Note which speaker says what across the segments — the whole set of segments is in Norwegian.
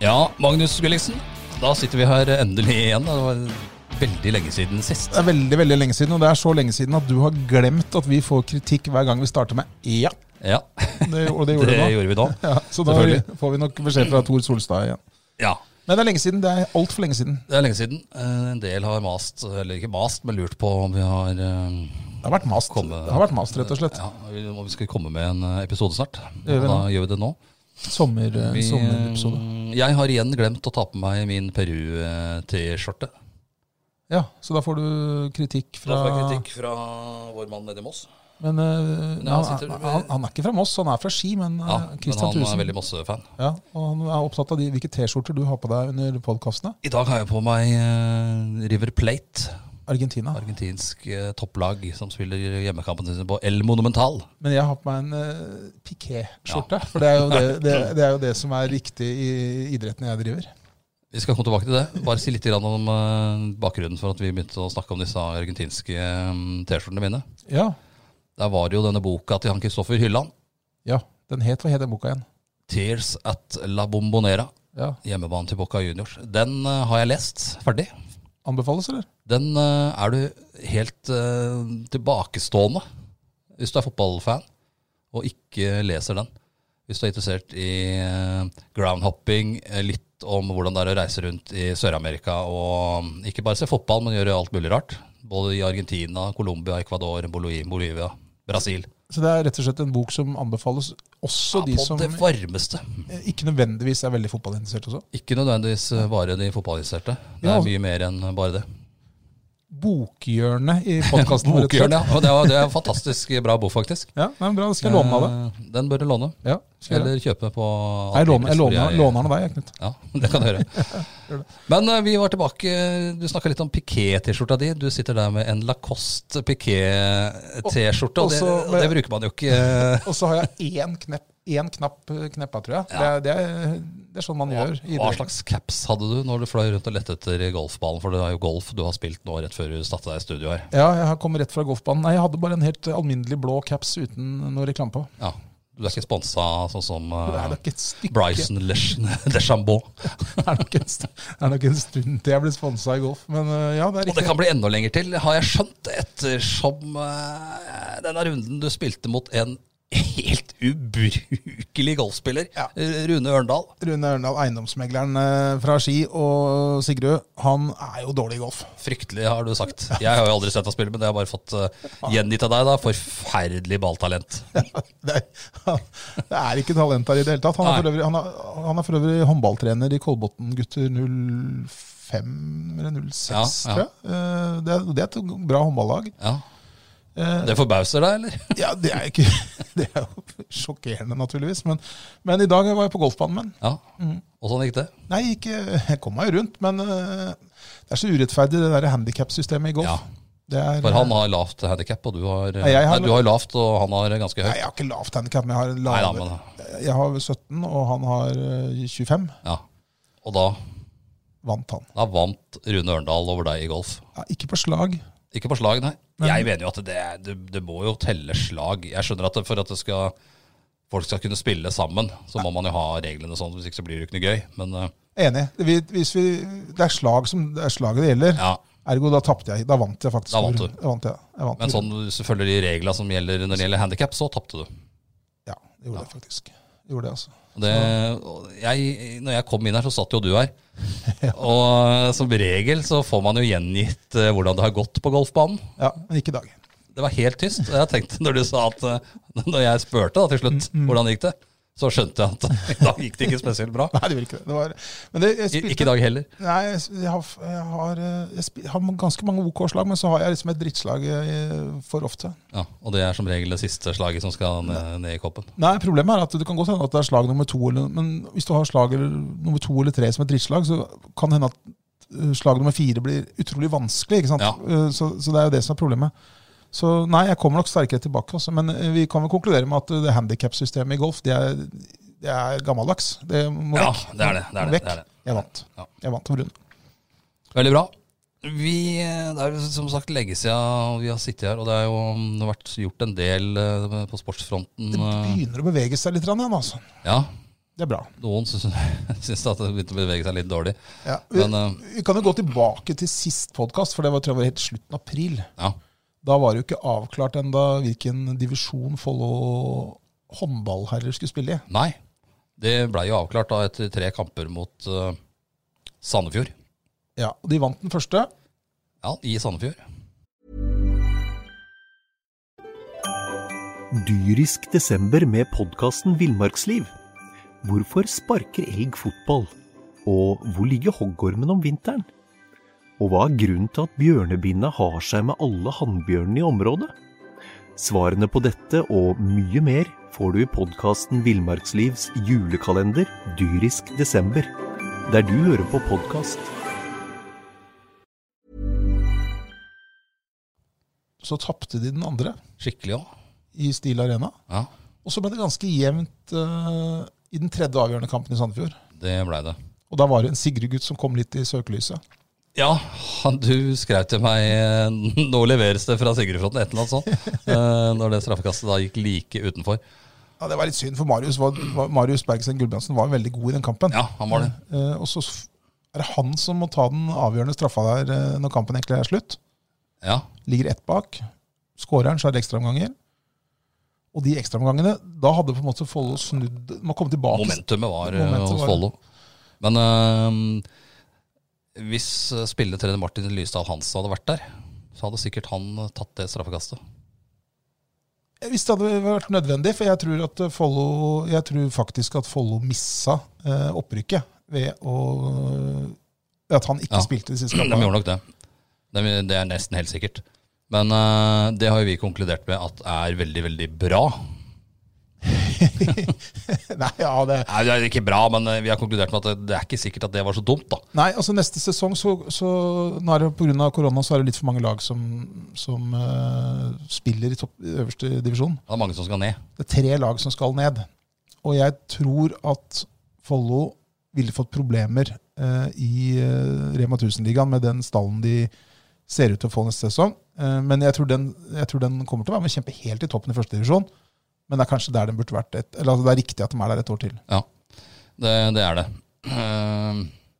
Speaker 1: Ja, Magnus Gulliksen, da sitter vi her endelig igjen. Det var veldig lenge siden sist.
Speaker 2: Det er veldig veldig lenge siden, og det er så lenge siden at du har glemt at vi får kritikk hver gang vi starter med ja.
Speaker 1: Ja,
Speaker 2: Det, og
Speaker 1: det
Speaker 2: det gjorde du nå.
Speaker 1: gjorde vi da.
Speaker 2: Ja, så da
Speaker 1: Selvfølgelig.
Speaker 2: får vi nok beskjed fra Tor Solstad igjen.
Speaker 1: Ja,
Speaker 2: Men det er lenge siden. Det er altfor lenge siden.
Speaker 1: det er lenge siden. Eh, En del har mast, eller ikke mast, men lurt på om vi har eh,
Speaker 2: Det har vært mast,
Speaker 1: Komme-
Speaker 2: det har vært mast rett og slett.
Speaker 1: Ja, om vi skal komme med en eh, episode snart.
Speaker 2: Gjør vi
Speaker 1: da
Speaker 2: det.
Speaker 1: gjør vi det nå.
Speaker 2: Sommer,
Speaker 1: Vi,
Speaker 2: sommerepisode.
Speaker 1: eh, jeg har igjen glemt å ta på meg min Peru-T-skjorte.
Speaker 2: Ja, Så da får du kritikk fra
Speaker 1: fra vår mann nede i Moss.
Speaker 2: Men eh,
Speaker 1: Nei, han
Speaker 2: han,
Speaker 1: sitter-
Speaker 2: han, han er ikke fra Moss, han er fra Ski, men
Speaker 1: Ja,
Speaker 2: eh,
Speaker 1: men
Speaker 2: Christian
Speaker 1: han er
Speaker 2: Thusen.
Speaker 1: veldig Mosse-fan.
Speaker 2: Ja, og han er opptatt av de, hvilke T-skjorter du har på deg under podkastene.
Speaker 1: I dag har jeg på meg eh, River Plate.
Speaker 2: Argentina.
Speaker 1: argentinsk eh, topplag som spiller hjemmekampene sine på El Monumental.
Speaker 2: Men jeg har på meg en uh, piké-skjorte. For det er, jo det, det, det er jo det som er riktig i idretten jeg driver.
Speaker 1: Vi skal komme tilbake til det. Bare si litt grann om eh, bakgrunnen for at vi begynte å snakke om disse argentinske eh, T-skjortene mine.
Speaker 2: Ja.
Speaker 1: Der var det jo denne boka til han Kristoffer Hylland,
Speaker 2: ja. Den het Hva het den boka igjen?
Speaker 1: 'Tears at la Bombonera',
Speaker 2: Ja.
Speaker 1: hjemmebanen til Boca Juniors. Den eh, har jeg lest ferdig.
Speaker 2: Anbefales, eller?
Speaker 1: Den eh, er du helt eh, tilbakestående hvis du er fotballfan og ikke leser den. Hvis du er interessert i eh, groundhopping, eh, litt om hvordan det er å reise rundt i Sør-Amerika og mm, ikke bare se fotball, men gjøre alt mulig rart. Både i Argentina, Colombia, Ecuador, Boloi- Bolivia, Brasil.
Speaker 2: Så det er rett og slett en bok som anbefales også
Speaker 1: Ja,
Speaker 2: de
Speaker 1: på
Speaker 2: som
Speaker 1: det varmeste.
Speaker 2: eh, ikke nødvendigvis er veldig fotballinteressert også.
Speaker 1: Ikke nødvendigvis eh, bare de fotballinteresserte. Det
Speaker 2: Ja.
Speaker 1: er mye mer enn bare det.
Speaker 2: Bokhjørnet i podkasten.
Speaker 1: Bokhjørnet, ja. Og det er- det er en fantastisk bra bok, faktisk.
Speaker 2: Ja, nei, men bra, da skal jeg låne av det.
Speaker 1: Eh, Den bør du låne.
Speaker 2: Ja, skal jeg gjøre det?
Speaker 1: Eller kjøpe på
Speaker 2: Nei, jeg låner, jeg
Speaker 1: Antikvist,
Speaker 2: låner,
Speaker 1: fordi jeg-
Speaker 2: låner den av deg, jeg, Knut.
Speaker 1: Ja, det kan du gjøre. Men eh, vi var tilbake. Du snakka litt om piké-T-skjorta di. Du sitter der med en Lacoste piké-T-skjorte. Og, det-
Speaker 2: Også
Speaker 1: og
Speaker 2: med-
Speaker 1: det bruker man jo ikke. eh,
Speaker 2: Og så har jeg én knepp, én knapp eh, kneppa, tror jeg. Det, er, det, er, det er sånn man gjør. i
Speaker 1: Hva
Speaker 2: idretten.
Speaker 1: slags caps hadde du når du fløy rundt og lette etter golfballen? For det er jo golf du har spilt nå rett før du starta deg i studio her.
Speaker 2: Ja, jeg har kommet rett fra golfbanen. Nei, jeg hadde bare en helt alminnelig blå caps uten noe reklame på.
Speaker 1: Ja, Du er ikke sponsa sånn som
Speaker 2: Det er
Speaker 1: eh,
Speaker 2: nok et stykke
Speaker 1: Bryson Deschambeau.
Speaker 2: Det er nok en, st det er nok en stund til jeg blir sponsa i golf. Men øh, ja, det er
Speaker 1: Og det
Speaker 2: riktig.
Speaker 1: kan bli enda lenger til, har jeg skjønt, ettersom eh, denne runden du spilte mot en helt ubrukelig golfspiller,
Speaker 2: Ja.
Speaker 1: eh, Rune Ørndal.
Speaker 2: Rune Ørndal, eiendomsmegleren øh, fra Ski, og Sigrud, han er jo dårlig i golf.
Speaker 1: Fryktelig, har du sagt. Jeg har jo aldri sett deg spille, men det har jeg bare fått eh, gjengitt av deg. da. Forferdelig balltalent.
Speaker 2: Det er, han, det er ikke talent her i det hele tatt. Han er
Speaker 1: Nei.
Speaker 2: for øvrig, han er, han er for øvrig håndballtrener i Kolbotn gutter 05 eller 06,
Speaker 1: Ja, ja.
Speaker 2: tror jeg. Eh, Det er, det er et bra håndballag.
Speaker 1: Ja.
Speaker 2: Eh,
Speaker 1: Det forbauser deg, eller?
Speaker 2: Ja, det er, ikke, det er jo sjokkerende, naturligvis. Men, men i dag var jeg på golfbanen min.
Speaker 1: Ja. Og sånn gikk det.
Speaker 2: Nei, ikke, jeg kom meg jo rundt, men øh, det er så urettferdig, det der handikapsystemet i golf.
Speaker 1: Ja.
Speaker 2: Det er, eh,
Speaker 1: For han har lavt handikap, og du har, eh,
Speaker 2: Nei, jeg har-
Speaker 1: nei, du har lavt, og han har ganske
Speaker 2: Nei,
Speaker 1: høyt.
Speaker 2: jeg har ikke lavt handikap, men jeg har,
Speaker 1: Nei da,
Speaker 2: lave,
Speaker 1: men
Speaker 2: jeg har 17, og han har øh, 25.
Speaker 1: ja. Og da,
Speaker 2: Vant han.
Speaker 1: da vant Rune Ørndal over deg i golf.
Speaker 2: Ja, ikke på slag.
Speaker 1: Ikke på slag, nei.
Speaker 2: Men-
Speaker 1: jeg mener jo at det, er- det, det må jo telle slag. Jeg skjønner at det, for at det skal, folk skal kunne spille sammen, så må man jo ha reglene sånn, hvis ikke så blir det jo ikke noe gøy. Men eh,
Speaker 2: Enig. Vi, hvis vi, det er slag som det er slaget det gjelder.
Speaker 1: ja,
Speaker 2: Ergo, da tapte jeg. Da vant jeg faktisk.
Speaker 1: Da vant du.
Speaker 2: Da vant jeg. jeg vant
Speaker 1: men sånn, hvis du følger de reglene som gjelder når det gjelder handikap, så tapte du.
Speaker 2: Ja, det gjorde jeg faktisk. Det Gjorde jeg, altså.
Speaker 1: Og Det, og jeg, når jeg kom inn her, så satt jo du her. Og eh, som regel så får man jo gjengitt eh, hvordan det har gått på golfbanen.
Speaker 2: Ja, men ikke i dag.
Speaker 1: Det var helt tyst. og Jeg tenkte når du sa at eh, Når jeg spurte da til slutt hvordan gikk det, så skjønte jeg at i dag gikk det ikke spesielt bra.
Speaker 2: Nei, det gjorde ikke det. det var, men det, jeg
Speaker 1: I,
Speaker 2: spilte,
Speaker 1: ikke i dag heller.
Speaker 2: Nei, jeg, s- jeg, har, f- jeg, har, eh, jeg spi- har ganske mange OK slag, men så har jeg liksom et drittslag eh, for ofte.
Speaker 1: Ja, og det er som regel det siste slaget som skal ned, ned i koppen.
Speaker 2: Nei, Problemet er at det kan godt hende at det er slag nummer to, eller, men hvis du har slag eller, nummer to eller tre som et drittslag, så kan det hende at eh, slag nummer fire blir utrolig vanskelig. ikke sant?
Speaker 1: Ja.
Speaker 2: Eh, Så, så det er jo det som er problemet. Så nei, jeg kommer nok sterkere tilbake. Også, men eh, vi kan vel konkludere med at eh, det handikapsystemet i golf det er, det er gammeldags. Det må
Speaker 1: Ja,
Speaker 2: vekk.
Speaker 1: det er det. det, er det,
Speaker 2: Vekk.
Speaker 1: det, er det.
Speaker 2: Jeg vant.
Speaker 1: Ja.
Speaker 2: Jeg vant på grunn.
Speaker 1: Veldig bra. Vi, eh, det er jo som sagt lenge siden vi har sittet her, og det er jo mm, det har vært gjort en del eh, på sportsfronten.
Speaker 2: Det
Speaker 1: eh.
Speaker 2: begynner å bevege seg litt grann igjen, altså.
Speaker 1: Ja,
Speaker 2: Det er bra.
Speaker 1: noen syns syns at det begynte å bevege seg litt dårlig.
Speaker 2: Ja. Vi,
Speaker 1: Men eh,
Speaker 2: vi kan jo gå tilbake til sist podkast, for det var, tror jeg var helt slutten av april.
Speaker 1: ja,
Speaker 2: Da var det jo ikke avklart enda hvilken divisjon Follo håndballherrer skulle spille i.
Speaker 1: nei. Det blei jo avklart da etter tre kamper mot eh, Sandefjord.
Speaker 2: Ja, og De vant den første.
Speaker 1: Ja, i Sandefjord.
Speaker 3: Dyrisk desember med podkasten Villmarksliv. Hvorfor sparker elg fotball? Og hvor ligger hoggormen om vinteren? Og hva er grunnen til at bjørnebinna har seg med alle hannbjørnene i området? Svarene på dette og mye mer får du i podkasten Villmarkslivs julekalender Dyrisk desember, der du hører på podkast.
Speaker 2: Så tapte de den andre
Speaker 1: Skikkelig òg.
Speaker 2: i Steel Arena.
Speaker 1: Ja,
Speaker 2: Og så ble det ganske jevnt eh, i den tredje avgjørende kampen i Sandefjord.
Speaker 1: det blei det.
Speaker 2: Og da var det en Sigrid-gutt som kom litt i søkelyset.
Speaker 1: Ja, han- du skrev til meg eh, Nå leveres det fra Sigurdfronten, et eller annet sånt. eh, Når det straffekastet da gikk like utenfor.
Speaker 2: Ja, Det var litt synd, for Marius, var, var, Marius Bergsten Gulbrandsen var veldig god i den kampen.
Speaker 1: Ja, han var det.
Speaker 2: Eh, og så f- er det han som må ta den avgjørende straffa der eh, når kampen egentlig er slutt.
Speaker 1: Ja,
Speaker 2: ligger ett bak. Skåreren skjærer ekstraomganger. Og de ekstraomgangene Da hadde på en måte Follo snudd Man kom tilbake.
Speaker 1: Momentumet var eh,
Speaker 2: Momentum
Speaker 1: hos
Speaker 2: var-
Speaker 1: Follo. Men eh, hvis eh, spilletrener Martin Lysdal Hansen hadde vært der, så hadde sikkert han eh, tatt det straffekastet.
Speaker 2: Hvis det hadde vært nødvendig, for jeg tror, at Follo, jeg tror faktisk at Follo missa eh, opprykket ved å ved at han ikke
Speaker 1: Ja.
Speaker 2: spilte de siste
Speaker 1: De
Speaker 2: kampene.
Speaker 1: gjorde nok det. Det, det er nesten helt sikkert. Men eh, det har jo vi konkludert med at er veldig, veldig bra.
Speaker 2: Nei, ja, det,
Speaker 1: Nei, det er ikke bra, men eh, vi har konkludert med at det, det er ikke sikkert at det var så dumt, da.
Speaker 2: nei, altså neste sesong så, så nå er det Pga. korona så er det litt for mange lag som, som eh, spiller i topp, øverste divisjon.
Speaker 1: Det er mange som skal ned.
Speaker 2: Det er tre lag som skal ned. Og jeg tror at Follo ville fått problemer eh, i eh, Rema 1000-ligaen med den stallen de ser ut til å få neste sesong. Eh, men jeg tror, den, jeg tror den kommer til å være med å kjempe helt i toppen i første divisjon. Men det er kanskje der den burde vært et, eller altså det er riktig at de er der et år til.
Speaker 1: Ja, det, det er det. Eh,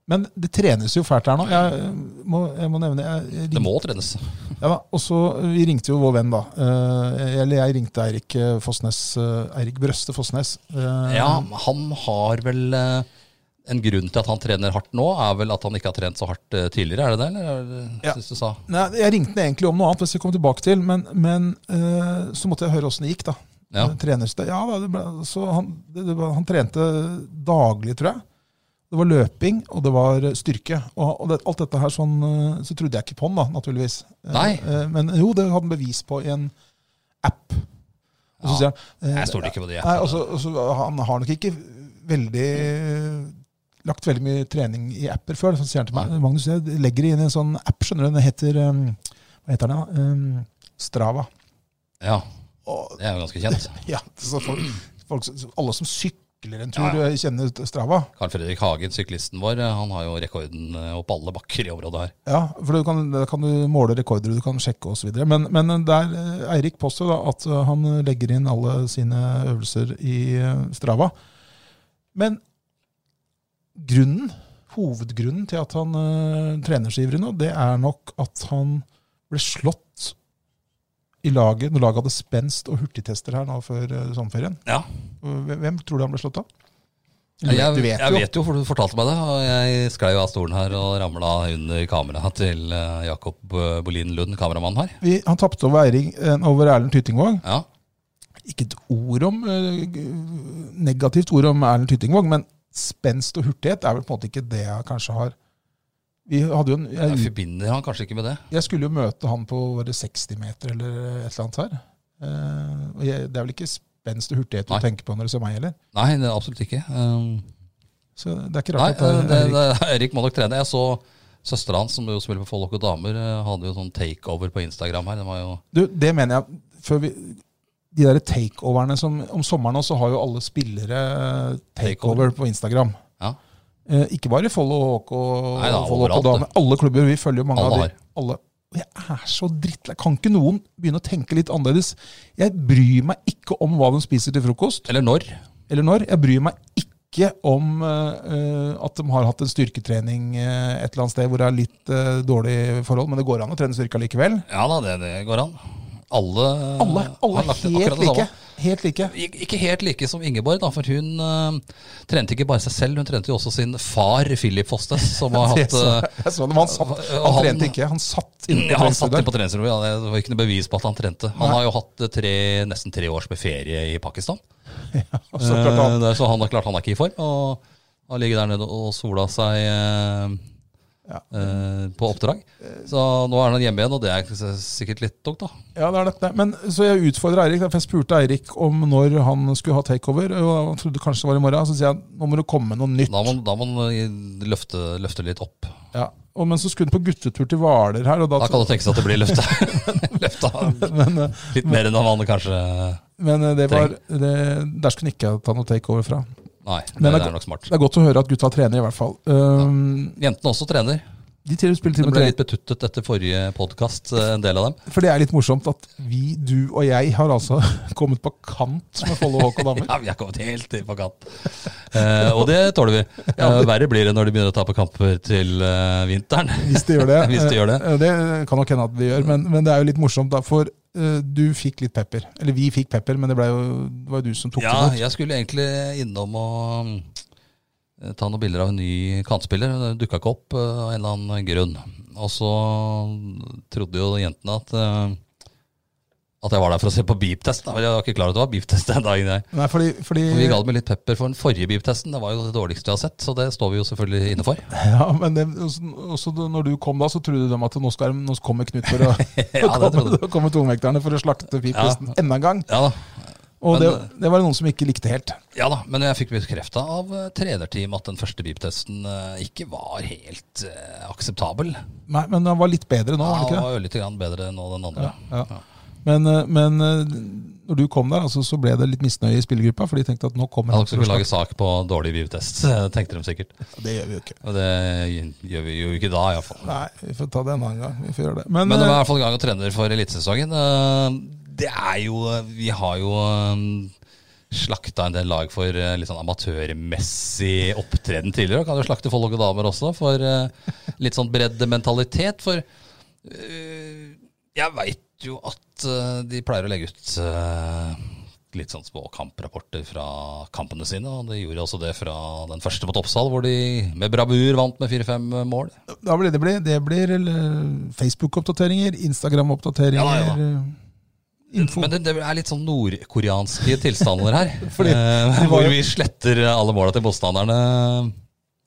Speaker 2: Men det trenes jo fælt her nå. Jeg eh, må, jeg må nevne jeg, jeg
Speaker 1: det
Speaker 2: ringte,
Speaker 1: må trenes.
Speaker 2: ja, da, og så Vi ringte jo vår venn, da. Eh, eller jeg ringte Eirik eh, Fossnes, eh, Eirik Brøste Fossnes. Eh,
Speaker 1: Ja, han har vel eh, En grunn til at han trener hardt nå, er vel at han ikke har trent så hardt eh, tidligere, er det det? Eller er det-
Speaker 2: Ja.
Speaker 1: synes du sa?
Speaker 2: Nei, Jeg ringte den egentlig om noe annet, hvis vi kommer tilbake til, men, men eh, så måtte jeg høre åssen det gikk. da.
Speaker 1: Ja.
Speaker 2: Eh, Trenerste, ja, da, det ble, så han, det, det, var- han trente daglig, tror jeg. Det var løping, og det var styrke. Og, og det, alt dette her sånn, eh, så trodde jeg ikke på han, da, naturligvis. Eh,
Speaker 1: Nei.
Speaker 2: eh, men jo, det hadde han bevis på i en app. Og så
Speaker 1: Ja,
Speaker 2: sier han eh,
Speaker 1: Jeg stoler ikke på det.
Speaker 2: Nei, og så- og så- Han har nok ikke veldig lagt veldig mye trening i apper før. Så sier han til meg Magnus, jeg legger det inn i en sånn app. skjønner du, Den heter um, Hva heter den? da? Um, Strava.
Speaker 1: Ja,
Speaker 2: Og,
Speaker 1: det er jo ganske kjent.
Speaker 2: ja, så folk, folk, som- alle som sykler en tur,
Speaker 1: Ja, ja.
Speaker 2: kjenner Strava.
Speaker 1: Carl Fredrik Hagen, syklisten vår, eh, han har jo rekorden eh, opp alle bakker i området her.
Speaker 2: Ja, for du kan, der kan du måle rekorder, du kan sjekke osv. Men, men der eh, Eirik påstår da at eh, han legger inn alle sine øvelser i eh, Strava. Men grunnen, hovedgrunnen til at han eh, trener så ivrig nå, det er nok at han ble slått i laget når laget hadde spenst og hurtigtester her nå før eh, sommerferien.
Speaker 1: Ja,
Speaker 2: Hvem hvem tror du han ble slått av? Du
Speaker 1: jeg,
Speaker 2: vet- du
Speaker 1: jeg,
Speaker 2: vet jo.
Speaker 1: vet jo, for du fortalte meg det. Og jeg sklei jo av stolen her og ramla under kameraet til eh, Jakob eh, Bolin Lund, kameramannen her.
Speaker 2: Vi, han tapte over, Eirik- eh, over Erlend Tytingvåg.
Speaker 1: Ja,
Speaker 2: ikke et ord om eh, g- negativt ord om Erlend Tyttingvåg, men spenst og hurtighet er vel på en måte ikke det jeg kanskje har Vi hadde jo en,
Speaker 1: Jeg
Speaker 2: jeg,
Speaker 1: forbinder han kanskje ikke med det.
Speaker 2: jeg skulle jo møte han på våre 60 meter eller et eller annet her. Eh, og jeg, det er vel ikke spenst og hurtighet
Speaker 1: Nei.
Speaker 2: du tenker på når du ser meg heller.
Speaker 1: Nei, det er absolutt ikke. Um,
Speaker 2: Så det er ikke
Speaker 1: Nei, eh,
Speaker 2: rart at
Speaker 1: det,
Speaker 2: Eirik-
Speaker 1: det, Erik må nok trene. Jeg så søstera hans, som jo spiller på Follok og Damer, eh, hadde jo sånn takeover på Instagram her. Den var jo
Speaker 2: Du, det mener jeg. Før vi, de der takeoverne som Om sommeren også har jo alle spillere eh, takeover på Instagram.
Speaker 1: Ja.
Speaker 2: Eh, ikke bare i Follo og HK.
Speaker 1: Nei da,
Speaker 2: og Follo
Speaker 1: overalt,
Speaker 2: og Dame. Alle klubber. Vi følger jo mange
Speaker 1: Alle
Speaker 2: av
Speaker 1: har.
Speaker 2: de. Alle. Og Jeg er så drittlei. Kan ikke noen begynne å tenke litt annerledes? Jeg bryr meg ikke om hva de spiser til frokost,
Speaker 1: Eller når?
Speaker 2: eller når. Jeg bryr meg ikke om eh, eh, at de har hatt en styrketrening eh, et eller annet sted hvor det er litt eh, dårlig forhold, men det går an å trene styrka likevel.
Speaker 1: Ja da, det, det går an. Alle,
Speaker 2: Alle, alle
Speaker 1: har
Speaker 2: er
Speaker 1: lagt inn akkurat
Speaker 2: helt
Speaker 1: det samme.
Speaker 2: like. Helt like.
Speaker 1: Ik- Ikke helt like som Ingeborg, da, for hun eh, trente ikke bare seg selv, hun trente jo også sin far, Philip Fostes, som har
Speaker 2: Jeg
Speaker 1: hatt
Speaker 2: så,
Speaker 1: eh,
Speaker 2: jeg så det, men han, satt,
Speaker 1: hva-
Speaker 2: han
Speaker 1: han-
Speaker 2: trente ikke, han satt inne på
Speaker 1: ja, han satt inn
Speaker 2: treningsstudioet.
Speaker 1: på treningsrommet, ja, det var ikke noe bevis på at han trente. Han
Speaker 2: Nei.
Speaker 1: har jo hatt eh, tre, nesten tre års med ferie i Pakistan.
Speaker 2: Og så klarte han-
Speaker 1: Eh, det er så han er klart han er ikke i form. Og har ligget der nede og sola seg eh,
Speaker 2: Ja.
Speaker 1: eh, på oppdrag. Så nå er han hjemme igjen, og det er s- sikkert litt tungt, da.
Speaker 2: Ja, det er dette. Men, så jeg utfordra Eirik, for jeg spurte Eirik om når han skulle ha takeover. Og han trodde kanskje det var i morgen. Så sier jeg nå må det komme noe nytt.
Speaker 1: Da må da må han eh, løfte, løfte litt opp.
Speaker 2: Ja. Og, men så skulle han på guttetur til Hvaler her, og da,
Speaker 1: Da kan det tenkes at det blir løfta. løfta
Speaker 2: men, eh,
Speaker 1: litt mer enn han kanskje
Speaker 2: men eh, det var, det, der skulle han ikke ta noe takeover fra.
Speaker 1: Nei,
Speaker 2: Men
Speaker 1: det
Speaker 2: det-
Speaker 1: er nok smart.
Speaker 2: Det er godt å høre at gutta trener, i hvert fall. Um,
Speaker 1: Jentene også trener.
Speaker 2: de til- spiller til
Speaker 1: De
Speaker 2: og med
Speaker 1: ble
Speaker 2: tre-
Speaker 1: litt betuttet etter forrige podkast, en del av dem.
Speaker 2: For det er litt morsomt at vi, du og jeg har altså kommet på kant med Follo HK damer.
Speaker 1: Ja, vi har kommet helt til på kant. Eh, og det tåler vi. Eh, verre blir det når de begynner å ta på kamper til eh, vinteren.
Speaker 2: Hvis de gjør det.
Speaker 1: Hvis de gjør det.
Speaker 2: Eh, Det kan nok hende at de gjør, men, men det er jo litt morsomt, da. For eh, du fikk litt pepper. Eller vi fikk pepper, men det, ble jo, det var jo du som tok
Speaker 1: Ja,
Speaker 2: det imot.
Speaker 1: jeg skulle egentlig innom og eh, ta noen bilder av en ny kantspiller. Den dukka ikke opp eh, av en eller annen grunn. Og så trodde jo jentene at eh, at jeg var der for å se på beep-test. da. Men Jeg var ikke klar over at det var beep-test den dagen. jeg.
Speaker 2: Nei, fordi, fordi
Speaker 1: For Vi ga dem litt pepper for den forrige beep-testen. Det var jo det dårligste jeg har sett, så det står vi jo selvfølgelig inne for.
Speaker 2: ja, men det, også, også da- når du kom da, så trodde de at nå, skal, de- nå kommer Knut for å
Speaker 1: Ja, det trodde
Speaker 2: kommer, kommer tungvekterne for å slakte pipisten enda en gang.
Speaker 1: Ja da.
Speaker 2: Og det,
Speaker 1: Men- eh,
Speaker 2: det var det noen som ikke likte helt.
Speaker 1: Ja da, men jeg fikk bekrefta av eh, trenerteamet at den første beep-testen eh, ikke var helt eh, akseptabel.
Speaker 2: Nei, men han var litt bedre nå,
Speaker 1: Ja,
Speaker 2: var det
Speaker 1: den
Speaker 2: ikke det?
Speaker 1: var jo litt grann bedre nå den andre.
Speaker 2: Ja. Men, eh, men eh, når du kom der, altså, så ble det litt misnøye i spillergruppa, for de tenkte at nå kommer
Speaker 1: Jeg hadde
Speaker 2: han
Speaker 1: ikke
Speaker 2: for å
Speaker 1: skulle lage
Speaker 2: slakte.
Speaker 1: sak på dårlig beep-test, tenkte de sikkert.
Speaker 2: Det gjør vi jo ikke.
Speaker 1: Og det gjør vi jo ikke da, iallfall.
Speaker 2: Nei, vi får ta det en annen gang. Vi får gjøre det. Men,
Speaker 1: Men det
Speaker 2: eh,
Speaker 1: var i hvert fall i gang og trener for elitesesongen. Eh, Det er jo Vi har jo eh, slakta en del lag for eh, litt sånn amatørmessig opptreden tidligere. Og kan jo slakte folk og damer også for eh, litt sånn breddementalitet. For eh, jeg veit jo at eh, de pleier å legge ut eh, litt sånn små kamprapporter fra kampene sine. Og de gjorde også det fra den første mot Oppsal, hvor de med bravur vant med fire-fem mål.
Speaker 2: da blir det, bli- det blir eller, Facebook-oppdateringer, Instagram-oppdateringer,
Speaker 1: Ja, ja,
Speaker 2: eh, info.
Speaker 1: Men det, det er litt sånn nordkoreanske tilstander her.
Speaker 2: Fordi
Speaker 1: eh,
Speaker 2: de var
Speaker 1: hvor
Speaker 2: jo-
Speaker 1: vi sletter alle måla til motstanderne.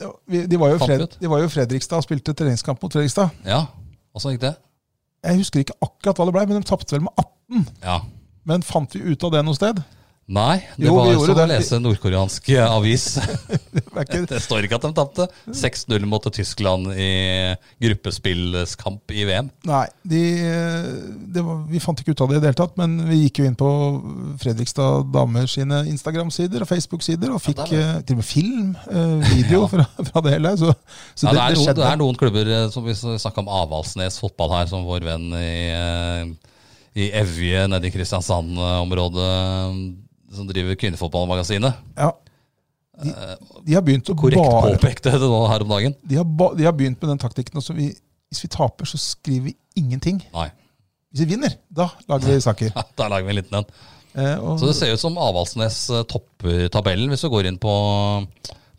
Speaker 2: Ja, vi- de, var jo i
Speaker 1: Fant
Speaker 2: Fred,
Speaker 1: ut.
Speaker 2: de var jo i Fredrikstad og spilte treningskamp mot Fredrikstad.
Speaker 1: Ja, åssen gikk det?
Speaker 2: Jeg husker ikke akkurat hva det ble, men de tapte vel med 18.
Speaker 1: Ja.
Speaker 2: Men fant vi ut av det noe sted?
Speaker 1: Nei, det
Speaker 2: Jo, vi
Speaker 1: var
Speaker 2: gjorde
Speaker 1: som å
Speaker 2: det.
Speaker 1: lese nordkoreansk avis.
Speaker 2: Det er ikke,
Speaker 1: Det står ikke at de tapte. 6-0 mot Tyskland i gruppespillskamp i VM.
Speaker 2: nei, de, eh, det var, vi fant ikke ut av det i det hele tatt, men vi gikk jo inn på Fredrikstad damer sine Instagram-sider og Facebook-sider, og fikk
Speaker 1: der var
Speaker 2: eh, til og med film, eh, video fra, fra det hele. Så, så
Speaker 1: Ja, det, er
Speaker 2: det, det
Speaker 1: noen, det
Speaker 2: skjedde.
Speaker 1: er noen klubber eh, som vi snakka om Avaldsnes fotball her, som vår venn i, eh, i Evje nede i Kristiansand-området, eh, som driver Kvinnefotballmagasinet.
Speaker 2: Ja. De, de har begynt å
Speaker 1: Korrekt
Speaker 2: bare
Speaker 1: påpekte det nå her om dagen.
Speaker 2: de har, ba, de har begynt med den taktikken også. Vi, hvis vi taper, så skriver vi ingenting.
Speaker 1: Nei.
Speaker 2: Hvis vi vinner, da lager vi saker.
Speaker 1: Ja, Der lager vi en liten en.
Speaker 2: Eh, og,
Speaker 1: Så det ser ut som Avaldsnes eh, topper tabellen. Hvis du går inn på,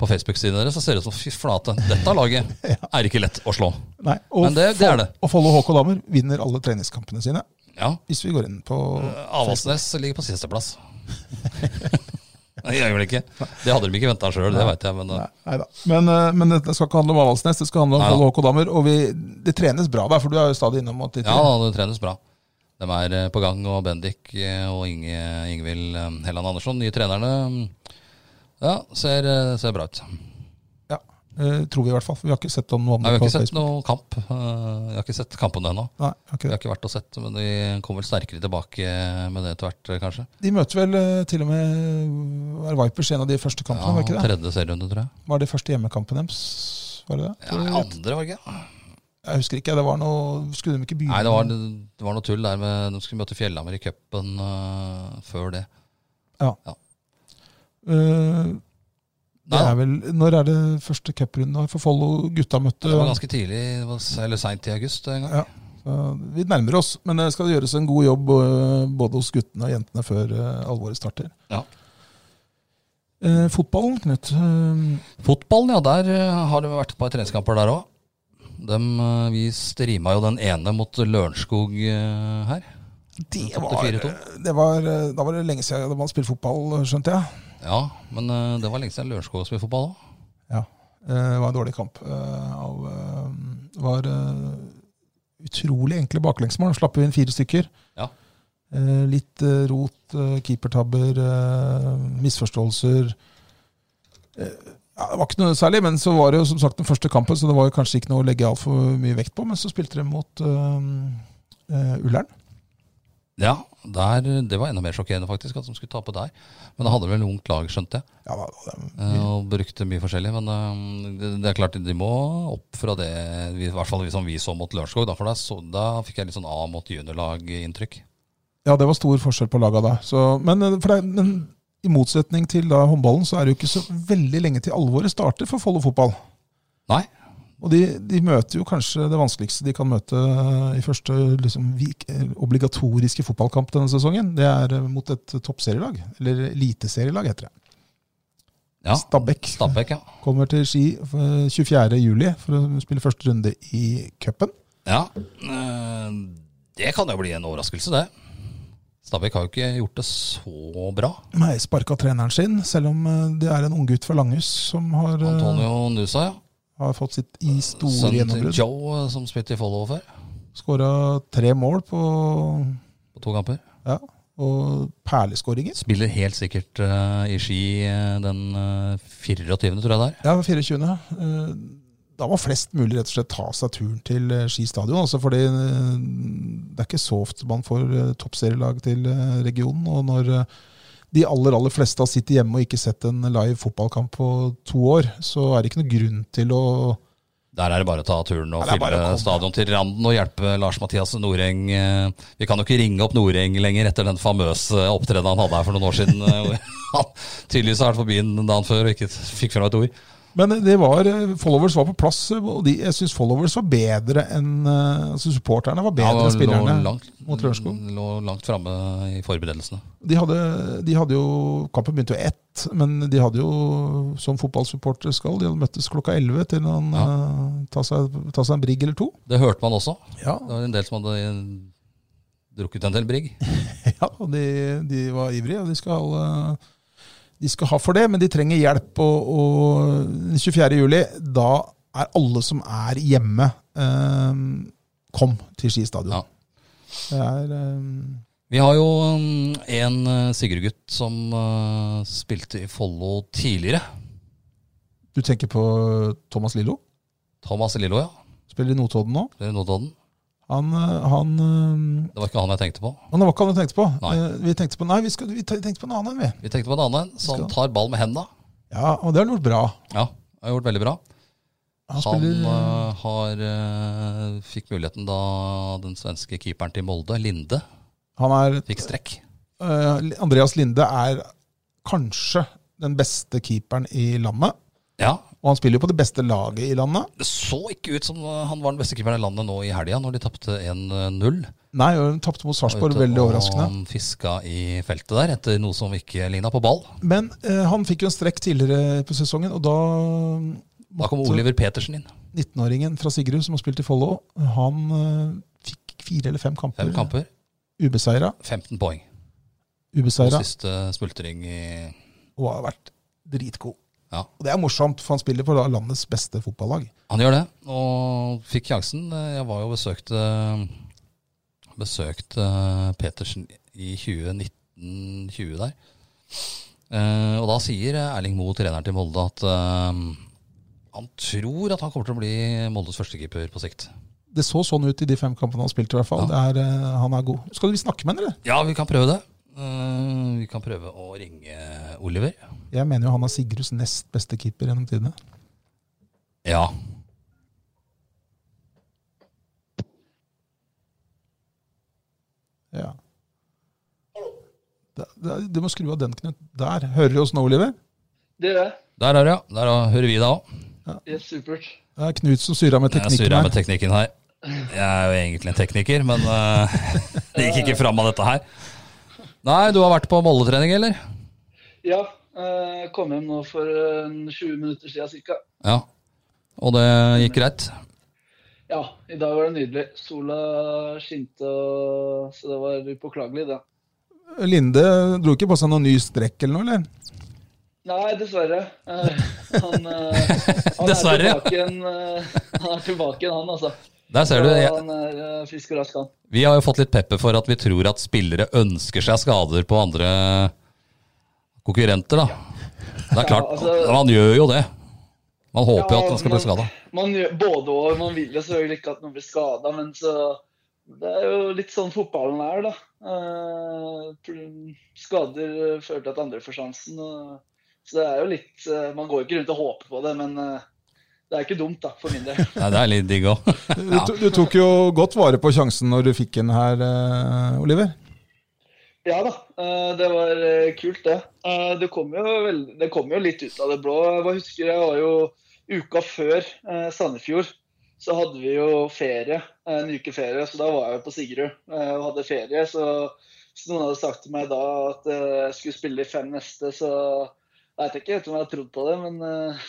Speaker 1: på Facebook-siden deres, så ser det ut som fy flate, dette laget er ikke lett å slå.
Speaker 2: nei, og,
Speaker 1: Men det- det er det.
Speaker 2: Fol- Og Follo HK Damer vinner alle treningskampene sine.
Speaker 1: Ja.
Speaker 2: Hvis vi går inn på
Speaker 1: Avaldsnes ligger på sisteplass. Det gjør vel ikke. Det hadde de ikke venta sjøl, det veit jeg. Men eh,
Speaker 2: Nei, neida. Men, eh, men dette skal ikke handle om Avaldsnes, det skal handle om
Speaker 1: Neida.
Speaker 2: Follo HK Damer. Og vi, det trenes bra der, for du er jo stadig innom at de
Speaker 1: ja, da, det trenes bra. De er eh, på gang, og Bendik eh, og Inge, Ingvild eh, Helland Andersson, nye trenerne, mm, ja, ser, eh, ser bra ut.
Speaker 2: Ja, eh, tror vi i hvert fall. for Vi har ikke sett om noe om
Speaker 1: Nei, vi har
Speaker 2: det på
Speaker 1: ikke sett
Speaker 2: Facebook.
Speaker 1: noe kamp. eh, Vi har ikke sett kampene ennå.
Speaker 2: Nei, vi har ikke
Speaker 1: Vi
Speaker 2: det.
Speaker 1: har ikke vært og sett, men de kommer vel sterkere tilbake med det etter hvert, eh, kanskje.
Speaker 2: De møter vel eh, til og med eh, er Vipers en av de første kampene, var det ikke det?
Speaker 1: Tredje serierunde, tror jeg.
Speaker 2: Var det første hjemmekampen deres? Var det det?
Speaker 1: Ja, andre, var det ikke?
Speaker 2: Jeg husker ikke, det var noe Skulle de ikke begynne?
Speaker 1: Nei, det var, det var noe tull der med De skulle møte Fjellhammer i cupen eh, før det.
Speaker 2: Eh, det
Speaker 1: Nei,
Speaker 2: er vel, når er det første cuprunden her for Follo? Gutta møtte
Speaker 1: Det var ganske tidlig, det var, s- eller seint i august en gang.
Speaker 2: Ja. Så Vi nærmer oss, men det skal gjøres en god jobb eh, både hos guttene og jentene før eh, alvoret starter.
Speaker 1: Ja.
Speaker 2: Eh, fotballen, Knut. Eh,
Speaker 1: Fotballen, ja. Der eh, har det vært et par treningskamper der òg. Vi streama jo den ene mot Lørenskog eh, her.
Speaker 2: det
Speaker 1: Tapte
Speaker 2: var,
Speaker 1: 4-2.
Speaker 2: det var, eh, da var det lenge siden man spilte fotball, skjønte jeg.
Speaker 1: Ja, men eh, det var lenge siden Lørenskog spilte fotball òg.
Speaker 2: Ja. Eh, det var en dårlig kamp. Eh, av, eh, det var eh, utrolig enkle baklengsmål. Slapp inn fire stykker.
Speaker 1: Ja.
Speaker 2: Eh, litt eh, rot, eh, keepertabber, eh, misforståelser. Eh, ja, det var ikke noe særlig, men så var det jo som sagt den første kampen, så det var jo kanskje ikke noe å legge altfor mye vekt på. Men så spilte de mot eh, eh, Ullern.
Speaker 1: Ja, der, det var enda mer sjokkerende faktisk at de skulle tape der. Men det hadde vel ungt lag, skjønte jeg,
Speaker 2: Ja, da, var de-
Speaker 1: eh, og brukte mye forskjellig. Men eh, det, det er klart de må opp fra det, vi, i hvert fall vi som vi så mot Lørenskog. Da, for da, så, da fikk jeg litt sånn A mot juniorlag-inntrykk.
Speaker 2: ja, det var stor forskjell på laga da. Så, men, eh, for det, men i motsetning til da håndballen, så er det jo ikke så veldig lenge til alvoret starter for Follo fotball.
Speaker 1: Nei,
Speaker 2: Og de, de møter jo kanskje det vanskeligste de kan møte eh, i første liksom, vik- eh, obligatoriske fotballkamp denne sesongen. Det er eh, mot et toppserielag, eller eliteserielag heter det.
Speaker 1: ja.
Speaker 2: Stabæk
Speaker 1: Stabæk, ja.
Speaker 2: kommer til Ski eh, 24. juli for å spille første runde i cupen.
Speaker 1: ja. eh, Det kan jo bli en overraskelse, det. Stabæk har jo ikke gjort det så bra.
Speaker 2: Nei, sparka treneren sin, selv om eh, det er en unggutt fra Langhus som har, eh,
Speaker 1: Antonio Nusa, ja.
Speaker 2: har fått sitt i store
Speaker 1: Sønnen til
Speaker 2: gjennombrudd.
Speaker 1: Joe, eh, som spilte i Follo før,
Speaker 2: Skåra tre mål på
Speaker 1: på to kamper.
Speaker 2: ja, og perleskåringer.
Speaker 1: Spiller helt sikkert eh, i Ski eh, den eh, 24., tror jeg det er.
Speaker 2: Ja, 24. Eh, Da må flest mulig rett og slett ta seg turen til eh, Ski stadion. Altså fordi eh, det er ikke så ofte man får eh, toppserielag til eh, regionen. Og når eh, de aller aller fleste har sittet hjemme og ikke sett en live fotballkamp på to år, så er det ikke noe grunn til å
Speaker 1: Der er det bare å ta turen og
Speaker 2: Ja, det er bare å
Speaker 1: fylle
Speaker 2: komme.
Speaker 1: stadion til randen og hjelpe Lars-Mathias Noreng. eh, Vi kan jo ikke ringe opp Noreng lenger etter den famøse opptredenen han hadde her for noen år siden. eh, hvor han tydeligvis har vært på byen dagen før og ikke fikk fram et ord.
Speaker 2: Men det var, eh, followers var på plass, eh, og de, jeg syns followers var bedre enn eh, altså Supporterne var bedre
Speaker 1: Han
Speaker 2: enn spillerne.
Speaker 1: lå langt,
Speaker 2: mot Lørenskog.
Speaker 1: lå langt framme i forberedelsene.
Speaker 2: De hadde, de hadde jo Kampen begynte jo ett, men de hadde jo, som fotballsupportere skal, de hadde møttes klokka elleve til han eh, ta, seg, ta seg en brigg eller to.
Speaker 1: Det hørte man også.
Speaker 2: Ja,
Speaker 1: Det var en del som hadde eh, drukket en del brigg.
Speaker 2: og de, de var ivrige, og de skal, eh, de skal ha for det, men de trenger hjelp. Og, og den 24. juli, da er alle som er hjemme, eh, kom til Ski stadion.
Speaker 1: Ja.
Speaker 2: Det er eh,
Speaker 1: Vi har jo um, en eh, Sigurd-gutt som eh, spilte i Follo tidligere.
Speaker 2: Du tenker på Thomas Lillo?
Speaker 1: Thomas Lillo, ja.
Speaker 2: Spiller i Notodden nå.
Speaker 1: Eller Notodden.
Speaker 2: Han, eh, han eh,
Speaker 1: Det var ikke han jeg tenkte på.
Speaker 2: Men det var ikke han du tenkte på.
Speaker 1: Nei.
Speaker 2: Eh, Vi tenkte på, nei, vi, skal, vi te- tenkte på en annen enn vi.
Speaker 1: Vi tenkte på en annen en som
Speaker 2: Skal-
Speaker 1: tar ball med henda.
Speaker 2: Ja, og det har han gjort bra.
Speaker 1: Ja, har gjort veldig bra.
Speaker 2: Han,
Speaker 1: Han
Speaker 2: spiller,
Speaker 1: eh, har eh, fikk muligheten da den svenske keeperen til Molde, Linde,
Speaker 2: han er
Speaker 1: fikk strekk.
Speaker 2: eh, Andreas Linde er kanskje den beste keeperen i landet.
Speaker 1: Ja,
Speaker 2: Og han spiller jo på det beste laget i landet.
Speaker 1: Det så ikke ut som eh, han var den beste keeperen i landet nå i helga, når de tapte eh, 1-0.
Speaker 2: Nei, og han tapte mot Sarpsborg, veldig overraskende.
Speaker 1: Han fiska i feltet der etter noe som ikke ligna på ball.
Speaker 2: Men eh, han fikk jo en strekk tidligere på sesongen, og da
Speaker 1: Da kom Oliver Petersen inn.
Speaker 2: 19-åringen fra Sigrud, som har spilt i Follo, han eh, fikk fire eller fem kamper,
Speaker 1: Fem kamper,
Speaker 2: ubeseira.
Speaker 1: 15 poeng. på
Speaker 2: Ubeseira.
Speaker 1: siste smultring i
Speaker 2: Og har vært dritgod.
Speaker 1: Ja.
Speaker 2: Og det er morsomt, for han spiller for landets beste fotballag.
Speaker 1: Han gjør det, og fikk sjansen. Jeg var jo og besøkte, besøkte Petersen i 2019-20 der. Eh, Og da sier Erling Moe, treneren til Molde, at eh, han tror at han kommer til å bli Moldes førstekeeper på sikt.
Speaker 2: Det så sånn ut i de fem kampene han spilte, i hvert fall. Det er, eh, han er god. Skal vi snakke med han, eller?
Speaker 1: Ja, vi kan prøve det. Eh, Vi kan prøve å ringe Oliver.
Speaker 2: Jeg mener jo han er Sigurds nest beste keeper gjennom tidene.
Speaker 1: Ja.
Speaker 2: Ja. Det, det, du må skru av den, Knut. Der. Hører du oss nå, Oliver?
Speaker 4: Det gjør jeg.
Speaker 1: Der er det, ja. Der hører vi deg òg.
Speaker 4: Det er supert.
Speaker 2: Det er Knut som surrer med
Speaker 1: Jeg
Speaker 2: teknikken
Speaker 1: surrer med
Speaker 2: her.
Speaker 1: teknikken her. Jeg er jo egentlig en tekniker, men eh, det gikk ikke fram av dette her. Nei, du har vært på Molletrening, eller?
Speaker 4: Ja, eh, kom hjem nå for eh, en 20 minutter siden ca.
Speaker 1: Ja. Og det gikk greit?
Speaker 4: Ja, i dag var det nydelig. Sola skinte, og... så det var upåklagelig, det.
Speaker 2: Linde dro ikke på seg noen ny strekk eller noe, eller?
Speaker 4: Nei, dessverre. Eh, han, eh, han,
Speaker 1: Dessverre, ja.
Speaker 4: Er tilbake igjen, eh, han er tilbake igjen, han altså.
Speaker 1: Der ser du.
Speaker 4: Og
Speaker 1: Jeg,
Speaker 4: Han er eh, frisk og rask, han.
Speaker 1: vi har jo fått litt pepper for at vi tror at spillere ønsker seg skader på andre konkurrenter, da. Det er klart.
Speaker 4: Ja, altså-
Speaker 1: Man gjør jo det. Man håper jo
Speaker 4: Ja,
Speaker 1: at man skal bli
Speaker 4: men-
Speaker 1: skada.
Speaker 4: Man gjør både og. Man vil jo selvfølgelig ikke at noen blir skada, men så Det er jo litt sånn fotballen er, da. Eh, pl- Skader eh, fører til at andre får sjansen. og- Så det er jo litt eh, Man går ikke rundt og håper på det, men eh, det er ikke dumt, da, for min del.
Speaker 1: Nei, Det er litt digg òg.
Speaker 2: Du, to- du tok jo godt vare på sjansen når du fikk den her, eh, Oliver.
Speaker 4: Ja da, eh, det var eh, kult det. Eh, Det kom, jo vel, det kom jo litt ut av det blå. Jeg husker jeg var jo uka før eh, Sandefjord. Så hadde vi jo ferie, eh, en uke ferie, så da var jeg på Sigrud eh, og hadde ferie. Så, så noen hadde sagt til meg da at eh, jeg skulle spille de fem neste, så jeg vet ikke helt om jeg har trodd på det, men eh,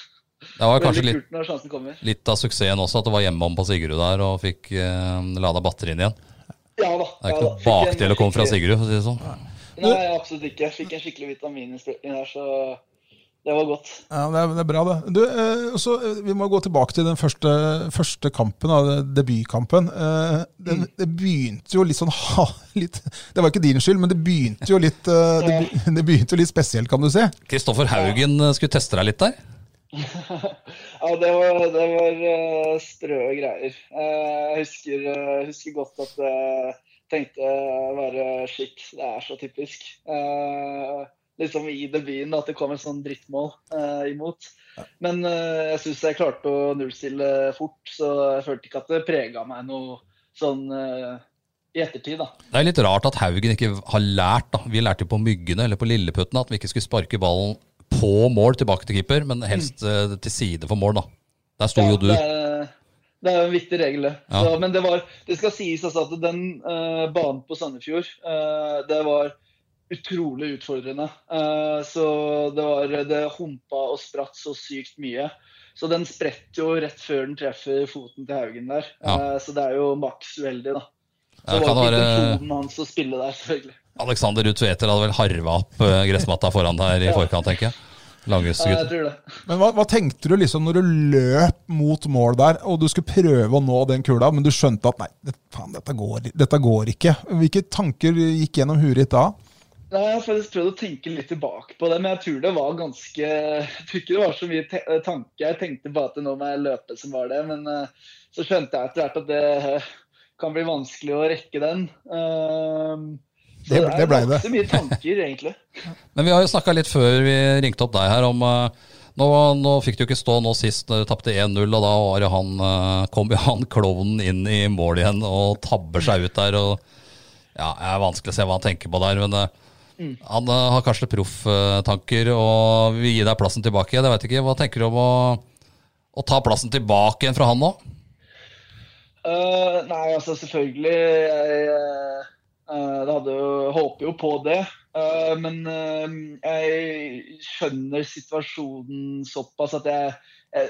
Speaker 1: Det var kanskje
Speaker 4: veldig
Speaker 1: litt
Speaker 4: kult når sjansen kommer.
Speaker 1: Litt av suksessen også, at du var hjemme om på Sigrud der og fikk eh, lada batterien igjen.
Speaker 4: Ja da.
Speaker 1: Det er ikke
Speaker 4: ja da.
Speaker 1: noe
Speaker 4: Fikk en
Speaker 1: bakdel å komme fra
Speaker 4: skikkelig-
Speaker 1: Sigrud, for å si det sånn.
Speaker 4: Nei, absolutt ikke. Jeg fikk en skikkelig vitamininnsprøytning der, så det var godt.
Speaker 2: Ja, det er, det er bra, det. Du, eh, også, eh, vi må gå tilbake til den første, første kampen, da, det- debutkampen. Eh, det, det begynte jo litt sånn ha, litt, Det var ikke din skyld, men det begynte jo litt, eh, det, be- det begynte jo litt spesielt, kan du si.
Speaker 1: Kristoffer Haugen eh, skulle teste deg litt der.
Speaker 4: Ja, det var, det var eh, strø greier. Eh, jeg husker, eh, husker godt at jeg tenkte bare shit, det er så typisk. Eh, liksom i debuten at det kom et sånn drittmål eh, imot. Men eh, jeg syns jeg klarte å nullstille fort, så jeg følte ikke at det prega meg noe sånn eh, i ettertid, da.
Speaker 1: Det er litt rart at Haugen ikke har lært, da. Vi lærte jo på Myggene eller på Lilleputtene at vi ikke skulle sparke ballen på mål tilbake til keeper, men helst eh, til side for mål, da. Der sto
Speaker 4: Mm. Ja,
Speaker 1: jo du.
Speaker 4: Det er, det er jo en viktig regel, det.
Speaker 1: Ja.
Speaker 4: Så, men det, var, det skal sies altså at den eh, banen på Sandefjord, eh, det var utrolig utfordrende. Eh, så det var Det humpa og spratt så sykt mye. Så den spretter jo rett før den treffer foten til Haugen der.
Speaker 1: Ja.
Speaker 4: Eh, så det er jo maks uheldig, da. Så
Speaker 1: Ja,
Speaker 4: det
Speaker 1: kan
Speaker 4: var
Speaker 1: det
Speaker 4: ikke
Speaker 1: være
Speaker 4: intensjonen hans å spille der, selvfølgelig.
Speaker 1: Alexander Ruud Tveter hadde vel harva opp eh, gressmatta foran der i forkant, tenker jeg.
Speaker 4: Ja, jeg
Speaker 1: Langhusgutt.
Speaker 4: tror det.
Speaker 2: Men hva, hva tenkte du liksom når du løp mot mål der, og du skulle prøve å nå den kula, men du skjønte at nei, det, faen, dette går, dette går ikke. Hvilke tanker gikk gjennom huet ditt da?
Speaker 4: Nei, Jeg har faktisk prøvd å tenke litt tilbake på det, men jeg tror det var ganske Jeg tror ikke det var så mye te eh, tanke. Jeg tenkte bare at det nå må jeg løpe som var det. Men eh, så skjønte jeg etter hvert at det eh, kan bli vanskelig å rekke den. Ehm, så
Speaker 2: Det- det ble det.
Speaker 4: er ganske mye tanker, egentlig.
Speaker 1: Men vi har jo snakka litt før vi ringte opp deg her om eh, nå, nå fikk du ikke stå nå sist, eh, du tapte 1-0, og da var det han, eh, kom jo han klovnen inn i mål igjen og tabber seg ut der. og ja, Det er vanskelig å se hva han tenker på der, men eh, han eh, har kanskje profftanker og vil gi deg plassen tilbake. Jeg vet ikke, Hva tenker du om å, å ta plassen tilbake igjen fra han nå?
Speaker 4: Eh, nei, altså selvfølgelig jeg, eh, eh, det hadde, jo- håper jo på det. Eh, men eh, jeg skjønner situasjonen såpass at jeg, jeg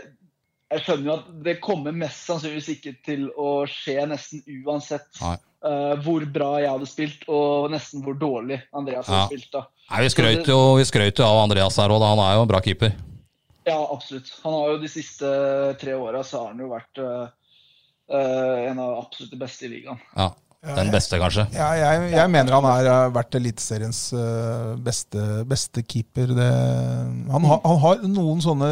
Speaker 4: jeg skjønner jo at det kommer mest sannsynligvis ikke til å skje nesten uansett.
Speaker 1: Nei.
Speaker 4: eh, hvor bra jeg hadde spilt, og nesten hvor dårlig Andreas
Speaker 1: Ja.
Speaker 4: hadde spilt. da.
Speaker 1: Nei, Vi skrøt jo, vi skrøt jo av Andreas her òg, han er jo en bra keeper.
Speaker 4: Ja, absolutt. Han har jo de siste tre åra så har han jo vært eh, eh, en av absolutt de beste i ligaen.
Speaker 1: Ja, Den beste, kanskje.
Speaker 2: Ja, jeg, jeg mener han er eh, vært Eliteseriens eh, beste, beste keeper. Det, han, har- han har noen sånne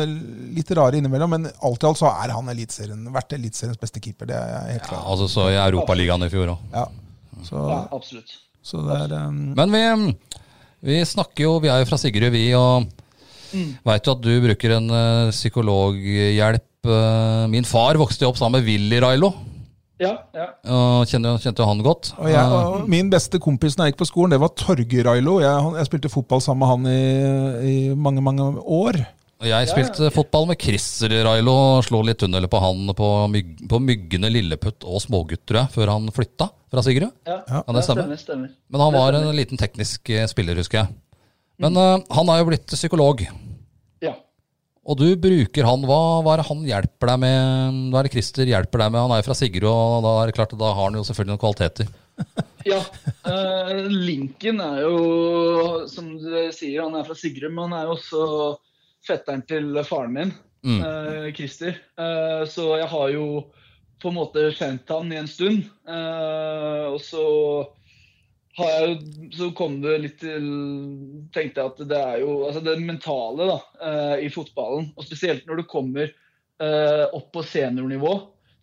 Speaker 2: litt rare innimellom, men alt i alt så er han elitserien, vært Eliteseriens beste keeper. Det er jeg helt
Speaker 1: Ja,
Speaker 2: klar over.
Speaker 1: altså Så i Europaligaen i fjor òg.
Speaker 2: Ja. Så,
Speaker 4: Ja, absolutt.
Speaker 2: så det er eh,
Speaker 1: Men vi, vi snakker jo, vi er jo fra Sigrud, vi, og veit jo at du bruker en eh, psykologhjelp. Eh, Min far vokste jo opp sammen med Willy Railo,
Speaker 4: Ja, ja.
Speaker 1: og kjenner, jo- kjente jo han godt. Eh,
Speaker 2: og jeg, og min beste kompis da jeg gikk på skolen, det var Torgeir Railo. Jeg, han- jeg spilte fotball sammen med han i, i mange, mange år.
Speaker 1: Og Jeg spilte fotball med Chris Railo og slo litt tunneler på han på, myg, på Myggene, Lilleputt og Smågutt, tror jeg, før han flytta fra Sigrud.
Speaker 4: ja.
Speaker 2: Ja,
Speaker 1: det stemmer.
Speaker 4: stemmer, stemmer.
Speaker 1: Men han var en liten teknisk eh, spiller, husker jeg. Men eh, han er jo blitt psykolog,
Speaker 4: Ja.
Speaker 1: og du bruker han. Hva, hva er det han hjelper deg med? Hva er det Christer hjelper deg med? Han er jo fra Sigrud, og da er det klart at da har han jo selvfølgelig noen kvaliteter.
Speaker 4: Ja. eh, Lincoln er jo, som du sier, han er fra Sigrud, men han er jo også fetteren til faren min,
Speaker 1: Mm.
Speaker 4: eh, Christer. Eh, så jeg har jo på en måte kjent han i en stund. Eh, og så har jeg jo Så kom det litt til Tenkte jeg at det er jo Altså det mentale da, eh, i fotballen, og spesielt når du kommer eh, opp på seniornivå,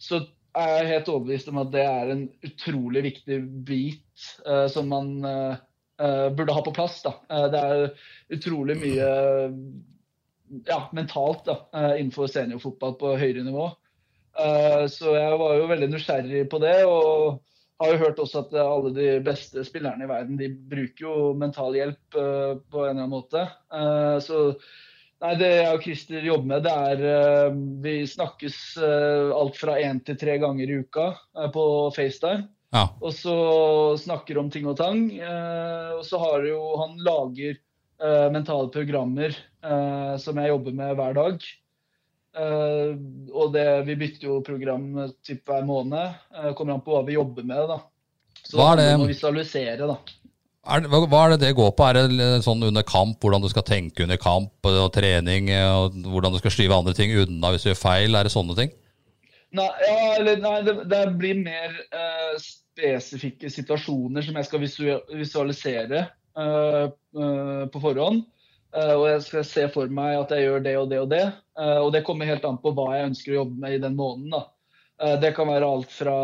Speaker 4: så er jeg helt overbevist om at det er en utrolig viktig bit eh, som man eh, eh, burde ha på plass. Da. Eh, det er utrolig mye ja, mentalt da, eh, innenfor seniorfotball på høyere nivå. Eh, så jeg var jo veldig nysgjerrig på det. og har jo hørt også at eh, alle de beste spillerne i verden de bruker jo mental hjelp eh, på en eller annen måte. Eh, så nei, det jeg og Christer jobber med, det er eh, Vi snakkes eh, alt fra én til tre ganger i uka eh, på FaceTime.
Speaker 1: Ja.
Speaker 4: Og så snakker om ting og tang. Eh, og så har jo han lager eh, mentale programmer eh, som jeg jobber med hver dag. Eh, og det, vi bytter jo program eh, typ hver måned. Eh, kommer an på hva vi jobber med, da. Så
Speaker 1: Hva er det-
Speaker 4: må visualisere, da.
Speaker 1: Er, det- hva, hva er det det går på? Er det l- sånn under kamp, hvordan du skal tenke under kamp, og, og trening, eh, og hvordan du skal skyve andre ting unna hvis du gjør feil? Er det sånne ting?
Speaker 4: Nei, ja, eller, nei det, det blir mer eh, spesifikke situasjoner som jeg skal visu- visualisere eh, eh, på forhånd. Eh, og jeg skal se for meg at jeg gjør det og det og det. Eh, og det kommer helt an på hva jeg ønsker å jobbe med i den måneden. Da. Eh, det kan være alt fra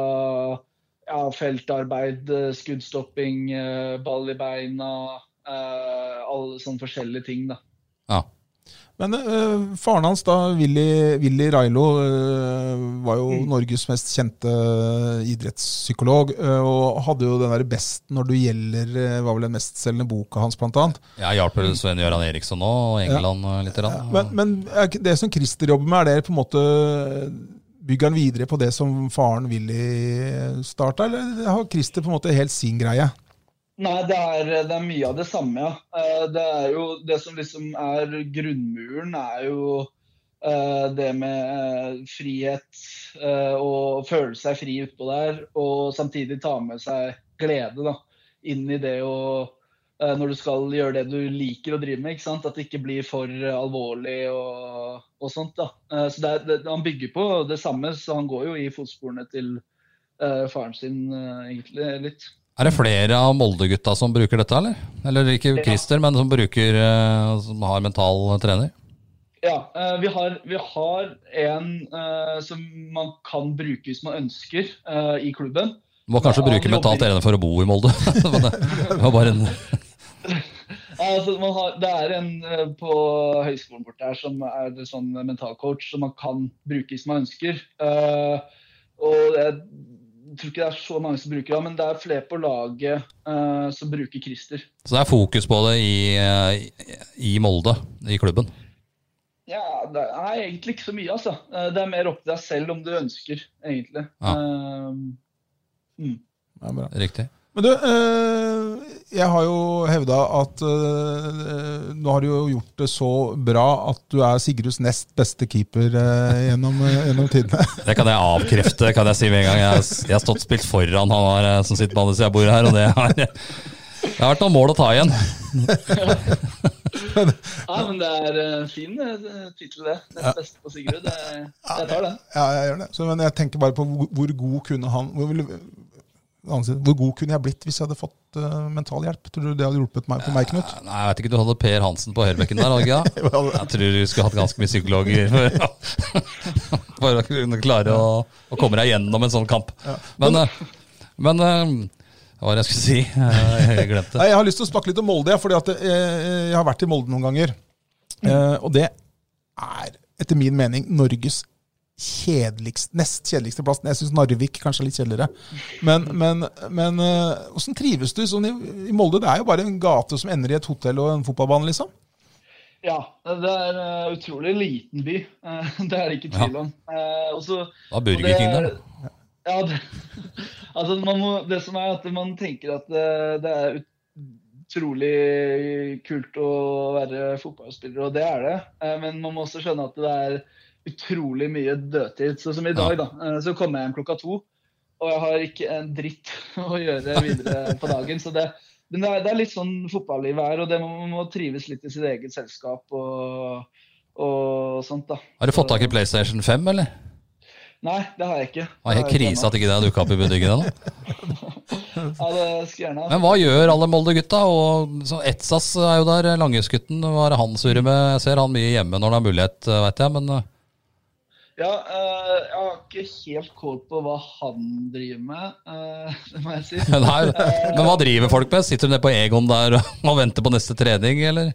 Speaker 4: ja, feltarbeid, eh, skuddstopping, eh, ball i beina, eh, alle sånne forskjellige ting. Da.
Speaker 1: Ja.
Speaker 2: Men øh, faren hans, da, Willy, Willy Railo, øh, var jo Norges mest kjente eh, idrettspsykolog. øh, og hadde jo den der best når du gjelder øh, Var vel den mestselgende boka hans, blant annet.
Speaker 1: Jeg hjalp vel Sven-Göran Eriksson nå, og England eh, litt. grann.
Speaker 2: Men, men er ikke det som Christer jobber med, er det på en måte Bygger han videre på det som faren Willy starta, eller har Christer på en måte helt sin greie?
Speaker 4: Nei, det er, det er mye av det samme, ja. Eh, Det er jo det som liksom er grunnmuren, er jo eh, det med eh, frihet eh, og føle seg fri utpå der, og samtidig ta med seg glede da, inn i det og eh, når du skal gjøre det du liker å drive med, ikke sant? at det ikke blir for eh, alvorlig og, og sånt. da. Eh, Så det er, det, Han bygger på det samme, så han går jo i fotsporene til eh, faren sin eh, egentlig litt.
Speaker 1: Er det flere av Molde-gutta som bruker dette, eller? Eller ikke
Speaker 4: Ja.
Speaker 1: Christer, men som bruker eh, Som har mental trener?
Speaker 4: Ja, eh, vi har, vi har en eh, som man kan bruke hvis man ønsker eh, i klubben.
Speaker 1: Du må kanskje
Speaker 4: Ja,
Speaker 1: bruke
Speaker 4: han
Speaker 1: mental
Speaker 4: jobber-
Speaker 1: trener for å bo i Molde. Men det var bare en
Speaker 4: Eh, så man har, det er en eh, på høyskolen borte her som er en sånn mentalcoach som man kan bruke hvis man ønsker. Eh, og jeg tror ikke det er så mange som bruker han, men det er flere på laget eh, som bruker Christer.
Speaker 1: Så det er fokus på det i, eh, i Molde, i klubben.
Speaker 4: Ja, det er egentlig ikke så mye, altså. Eh, det er mer opp til deg selv om du ønsker, egentlig.
Speaker 1: Ja.
Speaker 4: Eh,
Speaker 2: Det er bra.
Speaker 1: Riktig.
Speaker 2: Men du, øh, jeg har jo hevda at eh, nå har du jo gjort det så bra at du er Sigurds nest beste keeper eh, gjennom, eh, gjennom tidene.
Speaker 1: Det kan jeg avkrefte, kan jeg si med en gang. Jeg, jeg har stått spilt foran han har, eh, som sitter på andre siden av bordet her, og det har, det har vært noen mål å ta igjen.
Speaker 4: Ja, men det er en fin eh, tittel, det. Nest beste på Sigurd. Det, jeg tar den.
Speaker 2: Ja, jeg gjør det. Så, men jeg tenker bare på hvor, hvor god kunne han hvor, ville- annet- hvor god kunne jeg blitt hvis jeg hadde fått eh, mental hjelp? Tror du det hadde hjulpet meg på meg, Knut?
Speaker 1: Nei, Jeg vet ikke, du hadde Per Hansen på høyrebekken der, hadde du ikke det? Jeg tror du skulle hatt ganske mye psykologer for, for å kunne klare å, å komme deg gjennom en sånn kamp. Men, eh, men eh, hva var det jeg skulle si? Eh, Jeg glemte det.
Speaker 2: Nei, jeg har lyst til å snakke litt om Molde, jeg, fordi at eh, jeg har vært i Molde noen ganger. Eh, og det er, etter min mening, Norges kjedeligst, nest kjedeligste plass. Jeg syns Narvik kanskje er litt kjedeligere. Men, men, men eh, hvordan trives du sånn i, i Molde? Det er jo bare en gate som ender i et hotell og en fotballbane, liksom.
Speaker 4: Ja, det er eh, utrolig liten by. Eh, Det er det ikke tvil om. Eh, og så-
Speaker 1: Da
Speaker 4: og
Speaker 1: Burger
Speaker 4: det-
Speaker 1: King der. da.
Speaker 4: Ja, det, altså man må, det som er at man tenker at eh, det, det er utrolig kult å være fotballspiller, og det er det. Eh, Men man må også skjønne at det er utrolig mye dødtid. Så som i dag, da. eh, Så kommer jeg hjem klokka to, og jeg har ikke en dritt å gjøre videre på dagen. Så det, men det er, det er litt sånn fotballivet er, og det må, man må trives litt i sitt eget selskap og, og sånt, da.
Speaker 1: Har du fått tak i PlayStation 5, eller?
Speaker 4: Nei, det har jeg ikke.
Speaker 1: Det var
Speaker 4: Det
Speaker 1: helt
Speaker 4: har jeg
Speaker 1: krise
Speaker 4: ikke
Speaker 1: at ikke det har dukka opp i butikken ennå.
Speaker 4: ennå. Ja, det skulle jeg gjerne ha.
Speaker 1: Men hva gjør alle Molde-gutta? Og så Etsas er jo der, Langhusgutten. Hva er det han surrer med? Jeg ser han mye hjemme når han har mulighet, veit jeg. Men eh,
Speaker 4: Ja, eh, jeg har ikke helt kål på hva han driver med, eh, det må jeg si.
Speaker 1: nei, men hva driver folk med? Sitter de nede på Egon der og venter på neste trening, eller?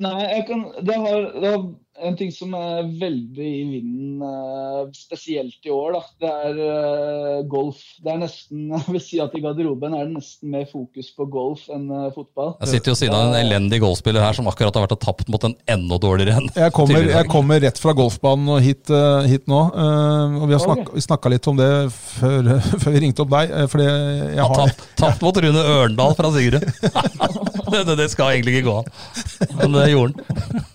Speaker 4: Nei, jeg kan, det, har, det har en ting som er veldig i vinden, eh, spesielt i år, da. Det er eh, golf. Det er nesten, jeg vil si at i garderoben er det nesten mer fokus på golf enn eh, fotball.
Speaker 1: Jeg sitter jo siden av en elendig golfspiller her som akkurat har vært og tapt mot en enda dårligere en.
Speaker 2: Jeg kommer,
Speaker 1: tidligere i dag.
Speaker 2: jeg kommer rett fra golfbanen og hit, eh, hit nå. eh, og vi har
Speaker 4: Ok.
Speaker 2: snakka, vi snakka litt om det før, før vi ringte opp deg. eh, fordi jeg har,
Speaker 1: Tapt, tapt mot Rune Ørndal fra Sigurd. det, det, det skal egentlig ikke gå an. Men det gjorde han.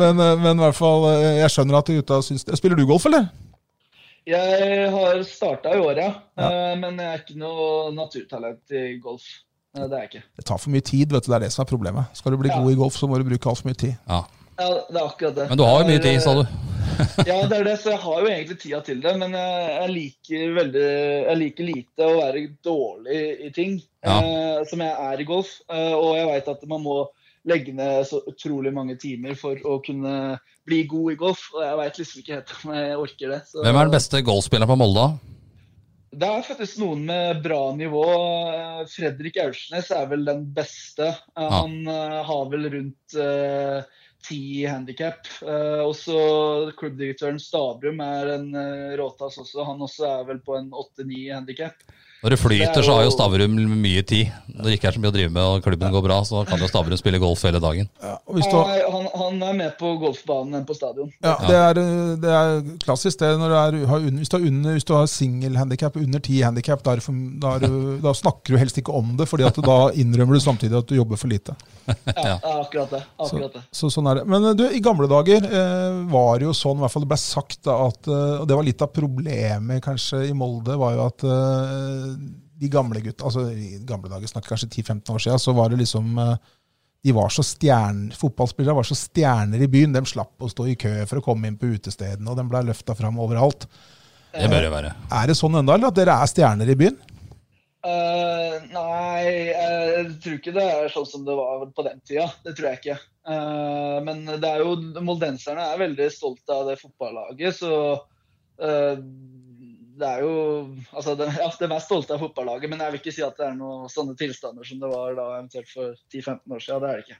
Speaker 2: men, eh, men i hvert fall, eh, jeg skjønner at gutta syns det. Spiller du golf, eller?
Speaker 4: Jeg har starta i år, ja. Eh, Men jeg er ikke noe naturtalent i golf. Eh, Det er jeg ikke.
Speaker 2: Det tar for mye tid, vet du. Det er det som er problemet. Skal du bli
Speaker 4: Ja.
Speaker 2: god i golf, så må du bruke altfor mye tid.
Speaker 1: Ja.
Speaker 4: Ja, det er akkurat det.
Speaker 1: Men du har jo mye tid, sa du.
Speaker 4: Ja, det er det, så jeg har jo egentlig tida til det. Men jeg, jeg, liker, veldig, jeg liker lite å være dårlig i ting,
Speaker 1: Ja.
Speaker 4: eh, som jeg er i golf. Eh, og jeg veit at man må legge ned så utrolig mange timer for å kunne bli god i golf. Og jeg veit liksom ikke helt om jeg orker det. Så.
Speaker 1: Hvem er den beste golfspilleren på Molde?
Speaker 4: Det er faktisk noen med bra nivå. Eh, Fredrik Aursnes er vel den beste. Eh, Han eh, har vel rundt eh, ti i handikap. Også klubbdirektøren Stavrum er en eh, råtass også. Han også er vel på en åtte-ni i handikap.
Speaker 1: Når du
Speaker 4: Det
Speaker 1: flyter,
Speaker 4: er
Speaker 1: så har jo
Speaker 4: jo-
Speaker 1: Stavrum mye tid. Det ikke er så mye å drive med, og klubben går bra, så kan jo Stavrum spille golf hele dagen.
Speaker 2: Ja, og hvis du,
Speaker 4: Han, er- han, han er med på golfbanen enn på stadion.
Speaker 2: ja, det, er, eh, det er klassisk det når du er, har, un- hvis du har, under- hvis du har singelhandikap, under ti handikap, da, er det for- da, er du- da snakker du helst ikke om det, fordi at da innrømmer du samtidig at du jobber for lite.
Speaker 4: Ja, akkurat det.
Speaker 2: Så,
Speaker 4: akkurat det.
Speaker 2: så sånn er det. Men eh, du, i gamle dager eh, var det jo sånn, i hvert fall det ble sagt, da, at, eh, og det var litt av problemet kanskje i Molde, var jo at eh, de gamle gutta, altså i gamle dager, snakker kanskje 10-15 år siden, så var det liksom eh, de var så stjerner, Fotballspillere var så stjerner i byen. De slapp å stå i kø for å komme inn på utestedene, og de ble løfta fram overalt.
Speaker 1: Det bør det være.
Speaker 2: Er det sånn ennå, eller at dere er stjerner i byen?
Speaker 4: Eh, nei, jeg tror ikke det er sånn som det var på den tida. Det tror jeg ikke. Eh, men det er jo, moldenserne er veldig stolte av det fotballaget, så eh, det er jo Altså, de, ja, de er stolte av fotballaget, men jeg vil ikke si at det er noen sånne tilstander som det var da eventuelt for 10-15 år siden. Det er det ikke.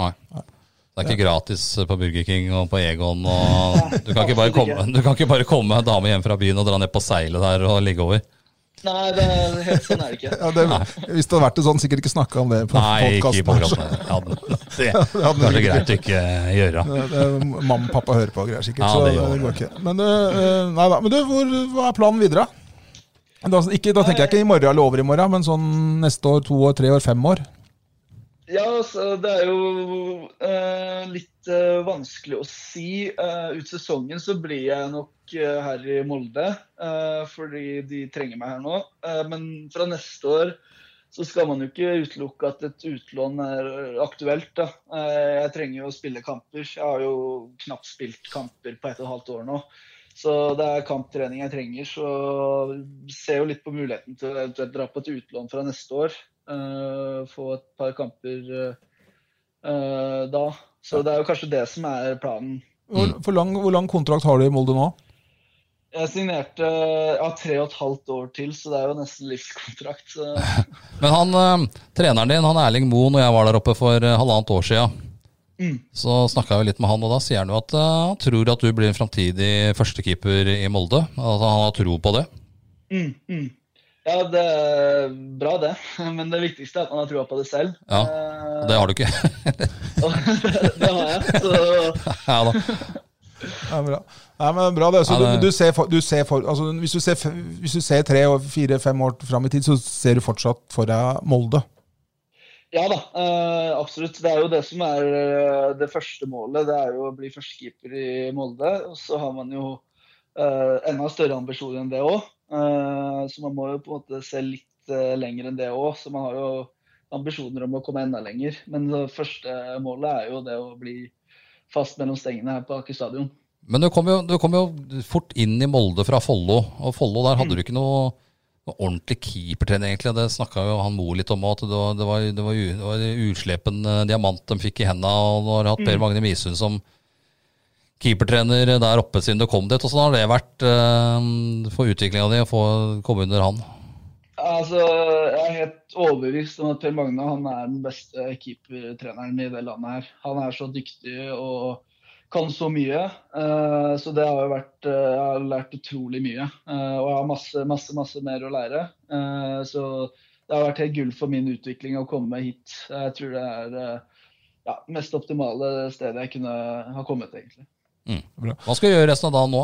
Speaker 1: Nei. Det er ikke gratis på Burger King og på Egon. Og du, kan ikke bare komme, du kan ikke bare komme med en dame hjem fra byen og dra ned på seilet der og ligge over.
Speaker 4: Nei, det er, helt sånn er det ikke.
Speaker 2: Ja, det, hvis det hadde vært det sånn, sikkert ikke snakka om det på
Speaker 1: Nei, ikke i
Speaker 2: podkasten.
Speaker 1: podkasten. Ja, det er kanskje greit å ikke gjøre.
Speaker 2: Eh, Det det er Mamma og pappa hører på og greier sikkert.
Speaker 1: Ja,
Speaker 2: så
Speaker 1: det
Speaker 2: det,
Speaker 1: gjør
Speaker 2: går ikke. Men, du, eh, nei da. Men du, hvor, hva er planen videre? Da, ikke, da tenker jeg ikke i morgen eller over i morgen, men sånn neste år, to år, tre år, fem år.
Speaker 4: Ja, altså, det er jo eh, litt eh, vanskelig å si. Eh, ut sesongen så blir jeg nok eh, her i Molde, eh, fordi de trenger meg her nå. Eh, men fra neste år så skal man jo ikke utelukke at et utlån er aktuelt. Da. Eh, jeg trenger jo å spille kamper. Jeg har jo knapt spilt kamper på ett og et halvt år nå. Så det er kamptrening jeg trenger. Så ser jo litt på muligheten til å eventuelt dra på et utlån fra neste år. Eh, få et par kamper eh, eh, da. Så det er jo kanskje det som er planen.
Speaker 2: Hvor,
Speaker 1: Mm.
Speaker 2: for lang, hvor lang kontrakt har du i Molde nå?
Speaker 4: Jeg signerte ja, tre og et halvt år til, så det er jo nesten livskontrakt. Så.
Speaker 1: Men han, eh, treneren din, han Erling Moe, når jeg var der oppe for eh, halvannet år siden,
Speaker 4: Mm.
Speaker 1: så snakka jeg jo litt med han, og da sier han jo at eh, han tror at du blir en framtidig førstekeeper i Molde. Altså, han har tro på det.
Speaker 4: Mm, mm. Ja, det er bra, det. Men det viktigste er at man har trua på det selv.
Speaker 1: Ja, Og det har du ikke.
Speaker 4: Eh, og det har jeg. Så
Speaker 1: ja da.
Speaker 2: Ja, bra. Nei, men bra det. Så
Speaker 1: Ja, det-
Speaker 2: Du, du ser for, du ser for, altså, hvis, du ser, f- hvis du ser tre, og fire, fem år fram i tid, så ser du fortsatt for deg Molde.
Speaker 4: ja da, eh, absolutt. Det er jo det som er eh, det første målet. Det er jo å bli førstekeeper i Molde. Og så har man jo eh, enda større ambisjoner enn det òg. så man må jo på en måte se litt eh, lenger enn det òg. Så man har jo ambisjoner om å komme enda lenger. Men det første målet er jo det å bli fast mellom stengene her på Aker stadion.
Speaker 1: Men du kom, jo, du kom jo fort inn i Molde fra Follo, og Follo der
Speaker 2: Mm.
Speaker 1: hadde du ikke noe, noe ordentlig keepertrening, egentlig. Det snakka jo han Moe litt om, at det var, det var, det var, u- det var uslepen eh, diamant de fikk i henda, og nå har du hatt
Speaker 2: Mm.
Speaker 1: Per Magne Misund som keepertrener der oppe siden du kom dit. Åssen har det vært eh, for utviklinga di å få komme under han?
Speaker 4: Altså, jeg er helt overbevist om at Per Magne han er den beste keepertreneren i det landet her. Han er så dyktig og kan så mye. eh, Så det har jo vært eh, Jeg har lært utrolig mye. eh, Og jeg har masse, masse, masse mer å lære. Eh, Så det har vært helt gull for min utvikling å komme hit. Jeg tror det er eh, ja, mest optimale stedet jeg kunne ha kommet, egentlig.
Speaker 1: Hva skal du gjøre resten av dagen nå?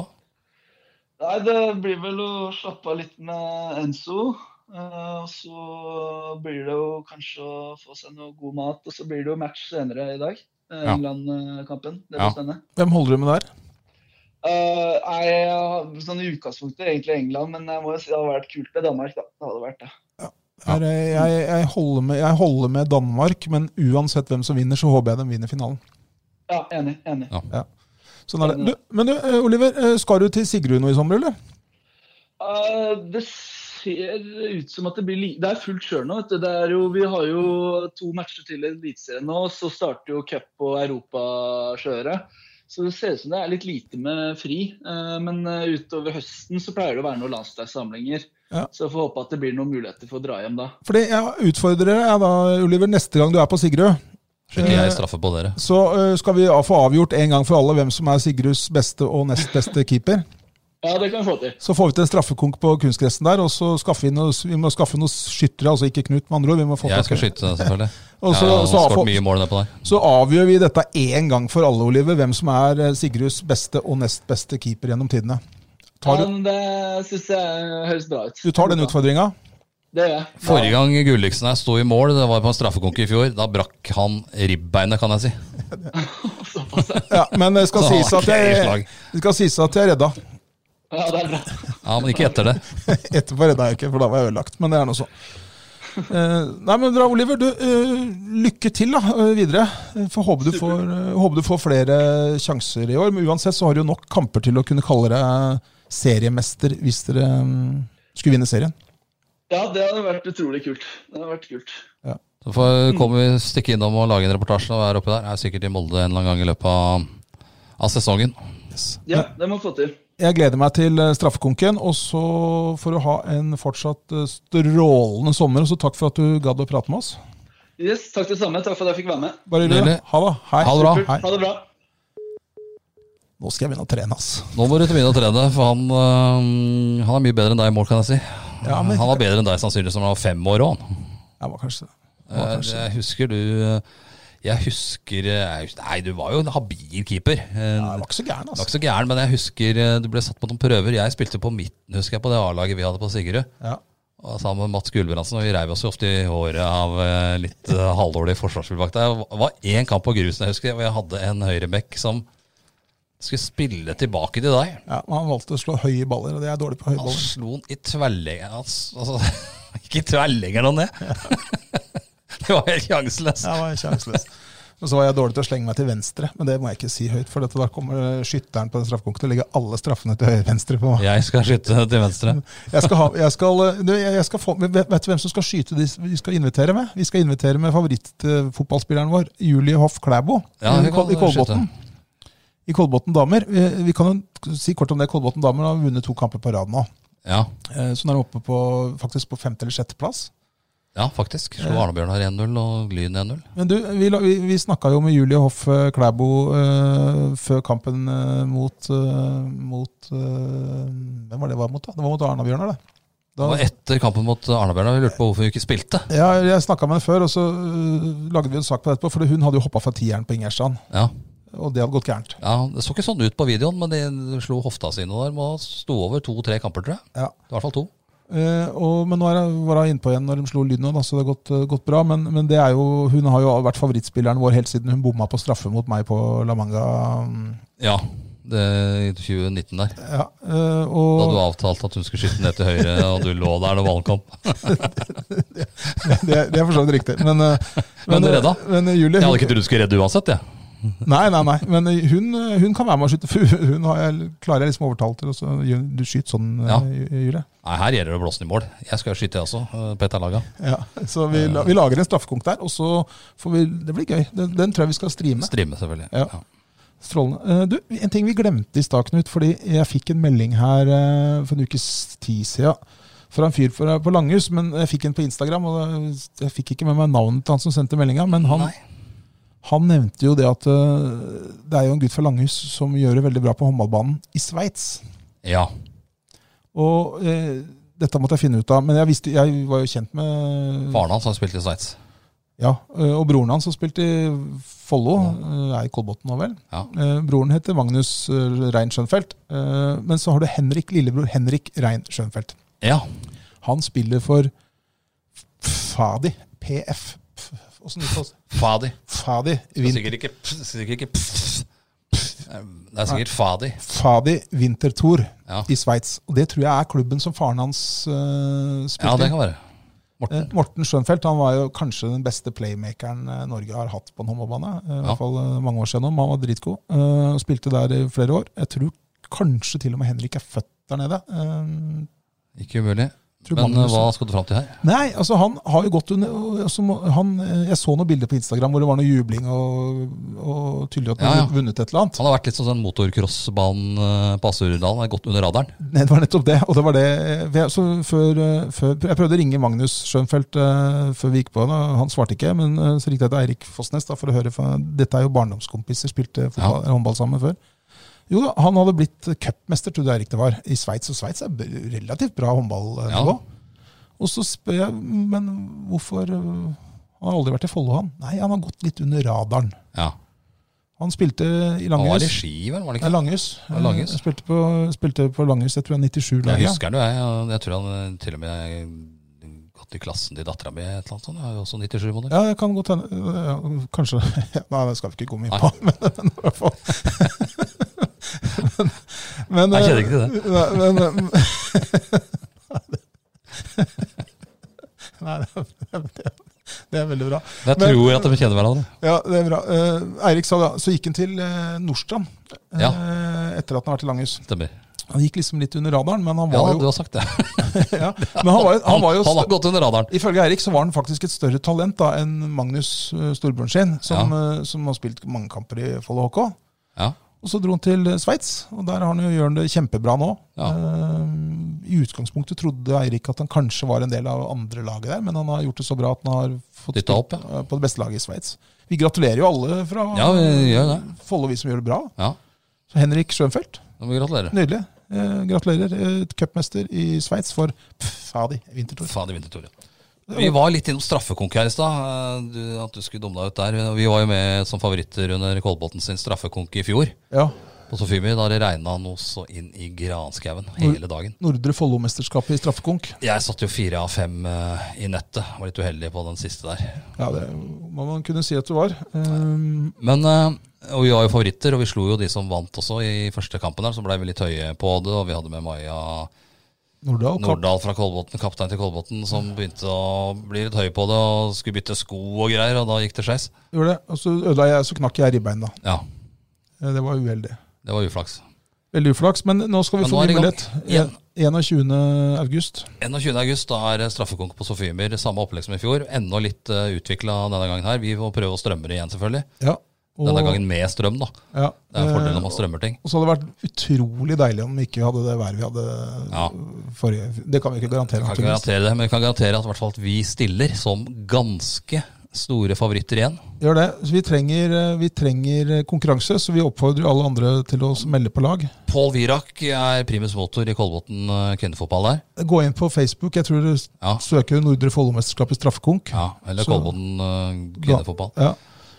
Speaker 4: Nei, det blir vel å slappe av litt med Enzo. eh, Og så blir det jo kanskje å få seg noe god mat. Og så blir det jo match senere i dag. eh,
Speaker 1: Ja.
Speaker 4: England-kampen. Det blir
Speaker 1: Ja.
Speaker 4: spennende.
Speaker 2: Hvem holder du med der?
Speaker 4: Eh, nei, jeg har- sånn I utgangspunktet egentlig England, men jeg må jo si det hadde vært kult med Danmark. da. Det hadde vært det.
Speaker 2: Er, eh, jeg, jeg, holder med, jeg holder med Danmark, men uansett hvem som vinner, så håper jeg de vinner finalen.
Speaker 4: Ja, enig. enig.
Speaker 1: Ja.
Speaker 2: Sånn er det. Du, men du, eh, Oliver, eh, skal du til Sigrud nå i sommer, eller?
Speaker 4: Eh, det ser ut som at det blir li Det er fullt kjør nå. Vet du. Det er jo, vi har jo to matcher til i Eliteserien nå, og så starter jo cup- og europakjøret. Så det ser ut som det er litt lite med fri. Eh, men eh, utover høsten så pleier det å være noen landslagssamlinger.
Speaker 2: Ja.
Speaker 4: Så jeg får håpe at det blir noen muligheter for å dra hjem da.
Speaker 2: Fordi jeg utfordrer deg da, Oliver, neste gang du er på Sigrud. Eh,
Speaker 1: Skyter jeg straffe på dere?
Speaker 2: Så eh, skal vi ja, få avgjort en gang for alle hvem som er Sigruds beste og nest beste keeper.
Speaker 4: Ja, det kan vi få til.
Speaker 2: Så får vi til en straffekonk på kunstgressen der, og så skaffe vi, noe, vi må skaffe noen skyttere, altså ikke Knut, med andre ord. Vi må få
Speaker 1: Jeg
Speaker 2: tak i-
Speaker 1: skal skyte, selvfølgelig.
Speaker 2: Og så,
Speaker 1: jeg har
Speaker 2: så,
Speaker 1: skåret
Speaker 2: så,
Speaker 1: mye mål nedpå der.
Speaker 2: avgjør vi dette én gang for alle, Oliver, hvem som er eh, Sigruds beste og nest beste keeper gjennom tidene. Tar du,
Speaker 4: Men det syns jeg høres bra ut.
Speaker 2: du tar den utfordringa?
Speaker 4: Det gjør jeg.
Speaker 1: Forrige gang Gulliksen her sto i mål, det var på en straffekonk i fjor, da brakk han ribbeinet, kan jeg si.
Speaker 4: Såpass, ja.
Speaker 2: Ja, men det skal
Speaker 1: Da
Speaker 2: sies
Speaker 1: var
Speaker 2: at
Speaker 1: det
Speaker 2: jeg,
Speaker 1: slag.
Speaker 2: det skal sies at jeg redda.
Speaker 4: ja, det er bra.
Speaker 1: Ja, Men ikke etter det.
Speaker 2: Etterpå redda jeg ikke, for da var jeg ødelagt. Men det er nå sånn. Eh, nei, men bra, Oliver. Du, eh, lykke til da, eh, videre. Eh, Får håpe du, får, eh, håpe du får flere sjanser i år. Men uansett så har du jo nok kamper til å kunne kalle deg seriemester hvis dere mm, skulle vinne serien.
Speaker 4: Ja, det hadde vært utrolig kult. Det hadde vært kult.
Speaker 1: Så får kommer vi stikke innom og lage en reportasje og være oppe der. Jeg er sikkert i Molde en eller annen gang i løpet av, av sesongen.
Speaker 4: Ja, det må vi få til.
Speaker 2: Jeg gleder meg til eh, straffekonken, og så får du ha en fortsatt eh, strålende sommer. Og så takk for at du gadd å prate med oss.
Speaker 4: Yes, takk det samme. Takk for at jeg fikk være med.
Speaker 2: Bare hyggelig.
Speaker 1: Nydelig.
Speaker 2: Ha det. Hei.
Speaker 1: Ha det bra.
Speaker 4: Kult.
Speaker 2: Hei.
Speaker 4: Ha det bra.
Speaker 2: Nå skal jeg begynne å trene, ass.
Speaker 1: Nå må du til begynne å trene, for han, øh, han er mye bedre enn deg i mål, kan jeg si.
Speaker 2: Ja, men-
Speaker 1: Han var bedre enn deg sannsynligvis da han var fem år òg.
Speaker 2: Jeg var kanskje
Speaker 1: Jeg husker du øh, Jeg husker eh, jeg husker- Nei, du var jo en habil keeper. Eh,
Speaker 2: Nei, det var ikke så gæren,
Speaker 1: Det var
Speaker 2: altså.
Speaker 1: ikke så gæren, men jeg husker eh, du ble satt på noen prøver. Jeg spilte på midten, husker jeg, på det A-laget vi hadde på Sigerud.
Speaker 2: Ja.
Speaker 1: Og Sammen med Mats Gulbrandsen, og vi reiv oss jo ofte i håret av eh, litt eh, halvdårlig forsvarsspill bak der. Det var én kamp på grusen, jeg husker, og jeg hadde en høyrebekk som skulle spille tilbake til deg.
Speaker 2: Ja, men han valgte å slå høye baller, og det er jeg dårlig på høye
Speaker 1: Han
Speaker 2: baller.
Speaker 1: slo den i tverrleggeren hans. Altså, ikke i tverrleggeren og ned! Det var helt sjanseløst.
Speaker 2: Jeg var sjanseløs. Og så var jeg dårlig til å slenge meg til venstre, men det må jeg ikke si høyt. For dette, da kommer skytteren på den straffekonken til å legge alle straffene til høyre-venstre på meg.
Speaker 1: Jeg skal skyte til venstre.
Speaker 2: Jeg skal ha, jeg skal, eh, du, jeg jeg skal få, vet vet du hvem som skal skyte de vi skal invitere med? Vi skal invitere med favorittfotballspilleren vår, Julie Hoff Klæbo,
Speaker 1: Ja, hun
Speaker 2: i, Kol-
Speaker 1: kan
Speaker 2: i Kolbotn. I Kolbotn damer. Vi- Vi kan jo si kort om det. Kolbotn damer har vunnet to kamper på rad nå.
Speaker 1: Ja,
Speaker 2: Eh, Så nå er de oppe på, faktisk på femte- eller sjetteplass.
Speaker 1: ja faktisk. Slo Arne-Bjørnar 1-0 og Lyn 1-0.
Speaker 2: Men du, vi, la- vi, vi snakka jo med Julie Hoff eh, Klæbo eh, før kampen eh, mot, eh, mot eh, Hvem var det var mot, da? Det var mot Arna-Bjørnar, det.
Speaker 1: Det
Speaker 2: Da,
Speaker 1: var etter kampen mot Arna-Bjørnar. Vi lurte på hvorfor vi ikke spilte.
Speaker 2: ja, jeg snakka med henne før, og så eh, lagde vi en sak på det etterpå. For hun hadde jo hoppa fra tieren på Ingerstrand,
Speaker 1: Ja.
Speaker 2: og det hadde gått gærent.
Speaker 1: ja, Det så ikke sånn ut på videoen, men de slo hofta sine der. Må stå over to-tre kamper, tror jeg.
Speaker 2: Ja.
Speaker 1: I hvert fall to.
Speaker 2: Eh, og, men nå er jeg, var hun innpå igjen når de slo Lyn nå, da, så det har gått, eh, gått bra. Men, men det er jo, hun har jo vært favorittspilleren vår helt siden hun bomma på straffe mot meg på La Manga. mm,
Speaker 1: Ja, det, i 2019 der.
Speaker 2: Ja, eh,
Speaker 1: Da
Speaker 2: og
Speaker 1: du avtalte at hun skulle skyte ned til høyre, og du lå der når ballen kom.
Speaker 2: det, det er for så vidt riktig. Men, eh,
Speaker 1: Men du redda.
Speaker 2: Men eh, Julie
Speaker 1: Jeg hadde
Speaker 2: hun,
Speaker 1: ikke trodd du skulle redde uansett, jeg.
Speaker 2: Nei, nei, nei. Men eh, hun, eh, hun kan være med å skyte. For hun har jeg, klarer jeg liksom å overtale til. Og så, gjør- du skyter sånn, eh,
Speaker 1: Ja.
Speaker 2: Ju- Julie.
Speaker 1: Nei, her gjelder det å blåse den i mål. Jeg skal jo skyte, jeg også. eh, Petter Laga.
Speaker 2: Ja, så vi, la- vi lager en straffekonk der, og så får vi Det blir gøy. Den, den tror jeg vi skal streame.
Speaker 1: Strimme, selvfølgelig.
Speaker 2: Ja. Strålende. Eh, Du, en ting vi glemte i stad, Knut. Fordi jeg fikk en melding her eh, for en ukes tid siden fra en fyr fra- på Langhus. Men jeg fikk en på Instagram, og eh, jeg fikk ikke med meg navnet til han som sendte meldinga. Men han,
Speaker 1: Nei.
Speaker 2: han nevnte jo det at eh, det er jo en gutt fra Langhus som gjør det veldig bra på håndballbanen i Sveits.
Speaker 1: Ja.
Speaker 2: Og eh, dette måtte jeg finne ut av, men jeg, visste, jeg var jo kjent med
Speaker 1: Faren hans har spilt i Sveits.
Speaker 2: Ja, eh, Og broren hans som spilte i Follo, eh, er i Kolbotn nå vel.
Speaker 1: Ja.
Speaker 2: Eh, Broren heter Magnus eh, Rein Schønfeldt. eh, Men så har du Henrik, lillebror Henrik Rein Schønfeldt.
Speaker 1: ja.
Speaker 2: Han spiller for Fadi PF. F- Åssen uttales det?
Speaker 1: Fadi.
Speaker 2: Fadi
Speaker 1: Det er
Speaker 2: Vin
Speaker 1: Sikkert ikke, sikkert ikke Det er sikkert Fadi.
Speaker 2: Fadi Winterthor
Speaker 1: Ja.
Speaker 2: i Sveits. Og det tror jeg er klubben som faren hans
Speaker 1: ja,
Speaker 2: eh, spilte
Speaker 1: det
Speaker 2: i.
Speaker 1: kan være.
Speaker 2: Eh, Morten Schönfeldt han var jo kanskje den beste playmakeren eh, Norge har hatt på en håndballbane. eh, I
Speaker 1: Ja.
Speaker 2: hvert fall eh, mange år gjennom. Han var dritgod. eh, og Spilte der i flere år. Jeg tror kanskje til og med Henrik er født der nede. Eh,
Speaker 1: Ikke umulig.
Speaker 2: Tror
Speaker 1: Men
Speaker 2: Magnus-
Speaker 1: eh, hva skal du fram til her?
Speaker 2: Nei, altså han har jo gått under og- altså, må- han, eh, Jeg så noen bilder på Instagram hvor det var noe jubling og, og tydelig at han
Speaker 1: Ja, ja.
Speaker 2: hadde vunnet et eller annet.
Speaker 1: Han har vært litt sånn den motorcrossbanen eh, på Asurdalen. er Gått under radaren.
Speaker 2: Nei, det var nettopp det. Og det var det eh, vi- så før, eh, før, Jeg prøvde å ringe Magnus Schönfeldt eh, før vi gikk på, da. han svarte ikke. Men eh, så ringte jeg til Eirik Fossnes da, for å høre. For dette er jo barndomskompiser, spilte fotball, håndball sammen før. Jo da, han hadde blitt cupmester, trodde Eirik det var, i Sveits. Og Sveits er b- relativt bra håndballnivå. Og så spør jeg, men hvorfor eh, Han har aldri vært i Follo, han. Nei, han har gått litt under radaren.
Speaker 1: Ja.
Speaker 2: Han spilte i
Speaker 1: Han var i
Speaker 2: Langhus.
Speaker 1: ski, vel? Var det
Speaker 2: Nei,
Speaker 1: ikke?
Speaker 2: Langhus.
Speaker 1: Ja, Langhus.
Speaker 2: Eh, Spilte på, spilte på Langhus, jeg tror jeg 97-laget.
Speaker 1: Jeg husker han jo, jeg. og Jeg tror han eh, til og med har gått i klassen til dattera mi. Et eller annet sånt. Jeg er jo også 97-modell.
Speaker 2: Ja, det kan godt hende. Ja, Kanskje Nei, det skal vi ikke komme inn på. Men, men i hvert fall men, men,
Speaker 1: Jeg kjenner ikke til det.
Speaker 2: Nei, men, eh, men Nei, det, det, det er veldig bra.
Speaker 1: Jeg
Speaker 2: Men-
Speaker 1: tror at de kjenner hverandre.
Speaker 2: Ja, det er bra. Eh, Eirik sa da, så gikk han til eh, Nordstrand eh,
Speaker 1: Ja.
Speaker 2: etter at han har vært i Langhus.
Speaker 1: Stemmer.
Speaker 2: Han gikk liksom litt under radaren, men han
Speaker 1: Ja,
Speaker 2: var
Speaker 1: du
Speaker 2: jo,
Speaker 1: har sagt det.
Speaker 2: ja, men han var, jo- han var jo
Speaker 1: han har gått under radaren.
Speaker 2: Ifølge Eirik så var han faktisk et større talent da enn Magnus, eh, storebroren sin, som, eh, som har spilt mange kamper i Follo HK.
Speaker 1: Ja.
Speaker 2: Og så dro han til eh, Sveits, og der har han jo gjør han det kjempebra nå.
Speaker 1: Ja.
Speaker 2: Eh, I utgangspunktet trodde Eirik at han kanskje var en del av andre laget der, men han har gjort det så bra at han har fått
Speaker 1: Dyttet opp,
Speaker 2: eh, på det beste laget i Sveits. Vi gratulerer jo alle fra
Speaker 1: Ja, vi gjør det.
Speaker 2: Follo, vi som gjør det bra.
Speaker 1: ja.
Speaker 2: Så Henrik Schönfeldt,
Speaker 1: Da må vi gratulere.
Speaker 2: nydelig. Eh, gratulerer. eh, Cupmester i Sveits for Pff, fader, Winterthur.
Speaker 1: Fader vintertore. Vi var litt innom straffekonk her i stad. eh, du- At du skulle dumme deg ut der. Vi var jo med som favoritter under Kolbotn sin straffekonk i fjor.
Speaker 2: Ja.
Speaker 1: På Sofimi, da det regna noe så inn i granskauen hele dagen.
Speaker 2: Nordre Follo-mesterskapet i straffekonk.
Speaker 1: Jeg satt jo fire av fem eh, i nettet. Var litt uheldig på den siste der.
Speaker 2: Ja, det må man kunne si at du var. Ehm,
Speaker 1: Men, eh, og vi var jo favoritter, og vi slo jo de som vant også i første kampen der, som blei veldig høye på det. Og vi hadde med Maja
Speaker 2: Nordahl, Kapp-
Speaker 1: Nordahl fra Kolbotn, kaptein til Kolbotn, som begynte å bli litt høy på det og skulle bytte sko og greier, og da gikk det skeis.
Speaker 2: gjorde det. Og så ødela jeg, så knakk jeg ribbeina.
Speaker 1: Ja,
Speaker 2: Eh, Det var uheldig.
Speaker 1: det var uflaks.
Speaker 2: Veldig uflaks, men nå skal vi
Speaker 1: Men
Speaker 2: få
Speaker 1: nå er
Speaker 2: ny
Speaker 1: det i gang.
Speaker 2: mulighet.
Speaker 1: Igjen.
Speaker 2: Eh, 21. august.
Speaker 1: 21. august da er straffekonk på Sofiemyr, samme opplegg som i fjor. Enda litt uh, utvikla denne gangen her. Vi må prøve å strømme det igjen, selvfølgelig.
Speaker 2: Ja. og-
Speaker 1: Denne gangen med strøm, da.
Speaker 2: ja,
Speaker 1: Det er en fordel
Speaker 2: eh,
Speaker 1: når man strømmer ting.
Speaker 2: Og så hadde det vært utrolig deilig om vi ikke hadde det været vi hadde
Speaker 1: Ja.
Speaker 2: forrige Det kan vi ikke garantere.
Speaker 1: Vi kan ikke
Speaker 2: naturligvis.
Speaker 1: garantere det, men vi kan garantere at, i hvert fall at vi stiller som ganske store favoritter igjen.
Speaker 2: Gjør det. Så vi trenger, eh, vi trenger konkurranse, så vi oppfordrer alle andre til å melde på lag.
Speaker 1: Pål Virak er primus motor i Kolbotn eh, kvinnefotball der.
Speaker 2: Gå inn på Facebook. Jeg tror du s-
Speaker 1: Ja.
Speaker 2: søker Nordre Follomesterskap i straffekonk.
Speaker 1: Ja, eller
Speaker 2: Så-
Speaker 1: Kolbotn eh, kvinnefotball.
Speaker 2: Ja.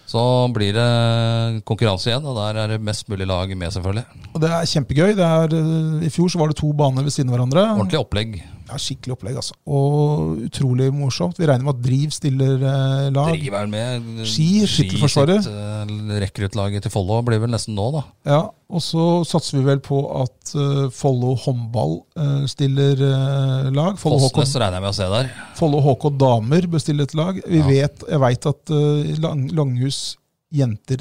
Speaker 1: Så blir det konkurranse igjen, og der er det mest mulig lag med, selvfølgelig.
Speaker 2: Og det er kjempegøy. Det er, eh, I fjor så var det to baner ved siden av hverandre.
Speaker 1: Ordentlig opplegg.
Speaker 2: Det er skikkelig opplegg, altså. Og utrolig morsomt. Vi regner med at Driv stiller eh, lag.
Speaker 1: Driver vel med
Speaker 2: Ski, skytterforsvaret.
Speaker 1: sitt, eh, Rekruttlaget til Follo blir vel nesten nå, da.
Speaker 2: Ja, og så satser vi vel på at eh, Follo håndball eh, stiller eh, lag. Follo HK
Speaker 1: Fossnes regner jeg med å se der.
Speaker 2: Follo HK damer bestiller et lag. Vi
Speaker 1: Ja.
Speaker 2: vet, jeg veit at eh, lang, Langhus jenter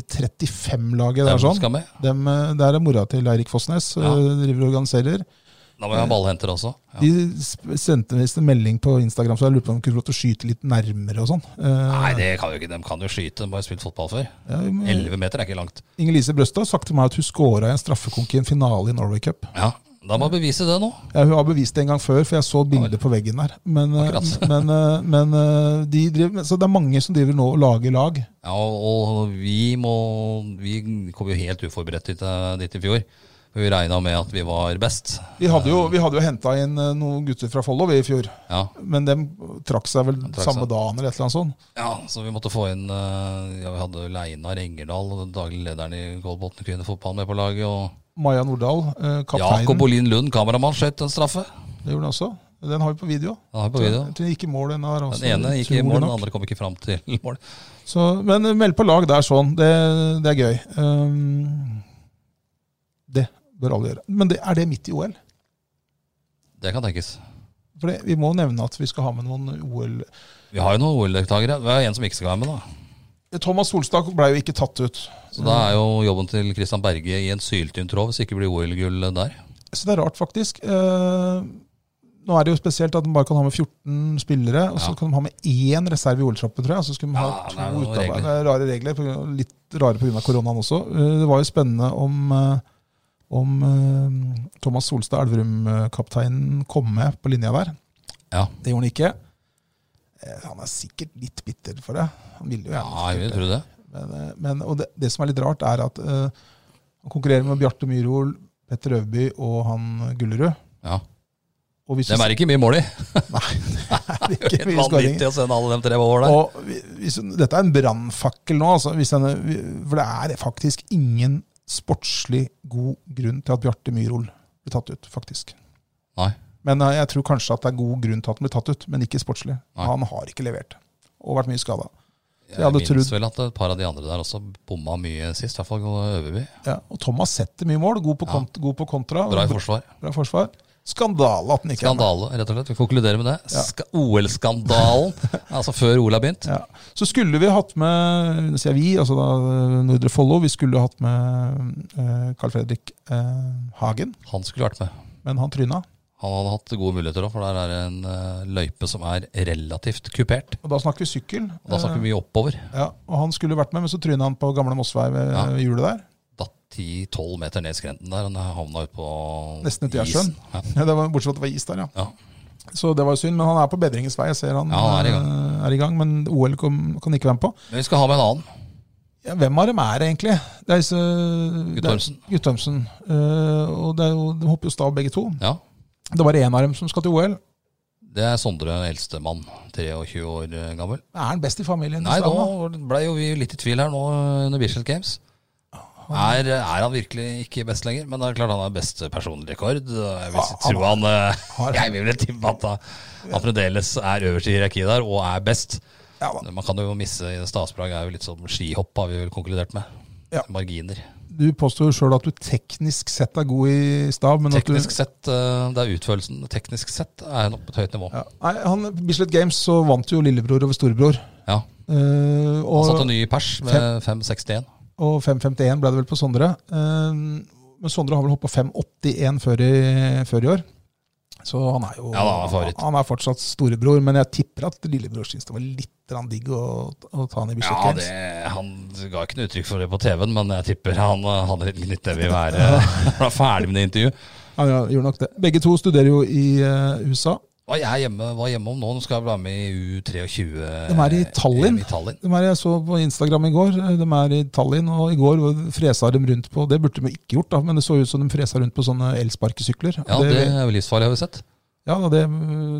Speaker 2: 35-laget
Speaker 1: Dem
Speaker 2: der sånn,
Speaker 1: skal med.
Speaker 2: dem, eh, der er mora til Eirik Fossnes, eh,
Speaker 1: Ja.
Speaker 2: driver og organiserer.
Speaker 1: Da må vi ha ballhenter også. Ja.
Speaker 2: De sp- sendte visst en melding på Instagram, så jeg lurte på om de kunne få lov til å skyte litt nærmere og sånn.
Speaker 1: Nei,
Speaker 2: Eh,
Speaker 1: det kan jo ikke. De kan jo skyte. De har jo spilt fotball før.
Speaker 2: ja, vi må-
Speaker 1: Elleve meter er ikke langt.
Speaker 2: Inger Lise Brøstad har sagt til meg at hun scora i en straffekonk i en finale i Norway Cup.
Speaker 1: Ja, Da må vi bevise det nå.
Speaker 2: Ja, hun har bevist det en gang før, for jeg så bildet på veggen der. Men, eh,
Speaker 1: Akkurat.
Speaker 2: men, eh, men eh, de driver, men- så det er mange som driver nå og lager lag.
Speaker 1: Ja, og, og vi må Vi kom jo helt uforberedt dit, eh, dit i fjor. For vi regna med at vi var best.
Speaker 2: Vi hadde jo, vi hadde jo henta inn eh, noen gutter fra Follo vi, i fjor,
Speaker 1: Ja,
Speaker 2: men dem trakk seg vel
Speaker 1: trakk
Speaker 2: samme
Speaker 1: seg.
Speaker 2: dagen eller et eller annet sånt.
Speaker 1: ja så vi måtte få inn eh, Ja, Vi hadde jo Leinar Engerdal, den daglig lederen i Kolbotn kvinnefotball, med på laget. Og
Speaker 2: Maja Nordahl, eh, kapteinen,
Speaker 1: Jakob Olin Lund, kameramann, skjøt en straffe.
Speaker 2: det gjorde hun også. Den har vi på video.
Speaker 1: Den har vi på video.
Speaker 2: Jeg tror den gikk i mål, den her også.
Speaker 1: Den ene gikk i
Speaker 2: utrolig
Speaker 1: mål, den
Speaker 2: nok.
Speaker 1: andre kom ikke fram til mål.
Speaker 2: Så, men eh, meld på lag, det er sånn. Det, det er gøy. Um, det bør alle gjøre. Men det, er det midt i OL?
Speaker 1: Det kan tenkes.
Speaker 2: For det, vi må nevne at vi skal ha med noen OL
Speaker 1: Vi har jo noen OL-deltakere. Det er en som ikke skal være med, da.
Speaker 2: Thomas Solstad ble jo ikke tatt ut.
Speaker 1: Så da er jo jobben til Christian Berge i en syltynn tråd hvis ikke blir OL-gull der.
Speaker 2: Så det er rart, faktisk. Eh, nå er det jo spesielt at de bare kan ha med 14 spillere, og så
Speaker 1: Ja.
Speaker 2: kan de ha med én reserve i OL-troppen, tror jeg. Og så skulle de ha
Speaker 1: Ja, det er
Speaker 2: to
Speaker 1: noen
Speaker 2: utarbeidere.
Speaker 1: regler.
Speaker 2: Det er rare regler, på grunn av, litt rare pga. koronaen også. Eh, det var jo spennende om eh, om eh, Thomas Solstad, Elverum-kapteinen, kom med på linja der.
Speaker 1: Ja.
Speaker 2: Det gjorde han ikke. Eh, Han er sikkert litt bitter for det. Han ville jo
Speaker 1: ja,
Speaker 2: gjerne
Speaker 1: jeg vil tro det.
Speaker 2: men, eh, men, og det, det som er litt rart, er at eh, han konkurrerer med Bjarte Myhrol, Petter Øvby og han Gullerud.
Speaker 1: Ja.
Speaker 2: Og hvis
Speaker 1: Dem er ikke mye mål i.
Speaker 2: er
Speaker 1: Det er
Speaker 2: ikke
Speaker 1: jo
Speaker 2: mye
Speaker 1: Helt
Speaker 2: skåringer.
Speaker 1: vanvittig å sende alle de tre over der.
Speaker 2: Og vi- hvis, dette er en brannfakkel nå, altså, hvis denne, vi- for det er faktisk ingen sportslig god grunn til at Bjarte Myhrol blir tatt ut, faktisk.
Speaker 1: Nei.
Speaker 2: Men eh, jeg tror kanskje at det er god grunn til at han blir tatt ut, men ikke sportslig.
Speaker 1: Nei.
Speaker 2: Han har ikke levert, og vært mye skada. Jeg
Speaker 1: Jeg
Speaker 2: hadde
Speaker 1: minnes
Speaker 2: trodd-
Speaker 1: vel at et par av de andre der også bomma mye sist, i hvert fall Øverby.
Speaker 2: Ja, og Thomas setter mye mål, god på, kont god på kontra.
Speaker 1: Bra i forsvar.
Speaker 2: Bra forsvar. Skandale at han ikke er med.
Speaker 1: Skandale, rett og slett. Vi konkluderer med det. Ska- OL-skandalen, altså før OL har begynt.
Speaker 2: Ja. Så skulle vi hatt med nå sier jeg vi, altså da eh, Nordre Follo, vi skulle hatt med eh, Carl Fredrik eh, Hagen,
Speaker 1: Han skulle vært med.
Speaker 2: men han tryna.
Speaker 1: Han hadde hatt gode muligheter òg, for der er det en eh, løype som er relativt kupert.
Speaker 2: Og da snakker vi sykkel.
Speaker 1: Og da snakker vi mye oppover.
Speaker 2: Eh, ja, og han skulle vært med, men så tryna han på gamle Mossvei ved
Speaker 1: Ja.
Speaker 2: ved hjulet der.
Speaker 1: Datt 10-12 meter ned skrenten der, og den havna ut på
Speaker 2: Nesten ut i
Speaker 1: isen.
Speaker 2: Gjersjøen.
Speaker 1: Ja.
Speaker 2: Ja, det var, bortsett fra at det var is der, ja.
Speaker 1: Ja.
Speaker 2: Så det var jo synd, men han er på bedringens vei. Jeg ser han,
Speaker 1: Ja, han er i gang.
Speaker 2: eh, er i gang men OL kom, kan ikke være med på.
Speaker 1: Men vi skal ha med en annen.
Speaker 2: Ja, hvem av dem er det egentlig? Det er disse det er-
Speaker 1: Guttormsen.
Speaker 2: Guttormsen. Eh, og det er jo, de hopper jo stav begge to.
Speaker 1: Ja,
Speaker 2: Det var en av dem som skal til OL.
Speaker 1: Det er Sondre, eldstemann. 23 år eh, gammel.
Speaker 2: Er han best i familien?
Speaker 1: Nei,
Speaker 2: Islam, da?
Speaker 1: nå ble jo vi litt i tvil her nå under Bislett Games. Er, er han virkelig ikke best lenger? Men det er klart han har best personlig rekord. og Jeg vil
Speaker 2: Ja,
Speaker 1: tro han eh,
Speaker 2: har-
Speaker 1: Jeg vil vel tippe at han- han fremdeles er øverst i hierarkiet der, og er best.
Speaker 2: Ja, da.
Speaker 1: Man kan jo misse i Stadsprang er jo litt som skihopp, har vi vel konkludert med.
Speaker 2: Ja.
Speaker 1: Marginer.
Speaker 2: Du påstår jo sjøl at du teknisk sett er god i stav, men at du
Speaker 1: Teknisk sett, eh, det er utførelsen. Teknisk sett er han oppe på et høyt nivå.
Speaker 2: ja. Nei, han, Bislett Games så vant jo lillebror over storebror.
Speaker 1: Ja. Han
Speaker 2: Eh, og,
Speaker 1: satte en ny pers med 5,61.
Speaker 2: og 5.51 ble det vel på Sondre. Eh, men Sondre har vel hoppa 5.81 før, i- før i år. Så han er jo
Speaker 1: Ja, da, han er favoritt.
Speaker 2: han er fortsatt storebror, men jeg tipper at lillebror syns det var litt grann digg å, å ta han i Bislett
Speaker 1: Ja,
Speaker 2: Games.
Speaker 1: det, han ga ikke noe uttrykk for det på TV-en, men jeg tipper han eh, hadde litt knytt nebb i været når han var ferdig med det intervjuet.
Speaker 2: Ja, ja, gjorde nok det. Begge to studerer jo i eh, USA.
Speaker 1: Hva jeg er hjemme, hva er hjemme om nå? Nå skal jeg være med i U23. eh,
Speaker 2: De er i Tallinn.
Speaker 1: I Tallinn.
Speaker 2: De er, jeg så på Instagram i går, eh, de er i Tallinn, og i går fresa de rundt på Det burde de ikke gjort, da, men det så ut som de fresa rundt på sånne elsparkesykler.
Speaker 1: Ja, det er jo livsfarlig, har vi sett.
Speaker 2: ja, da, det,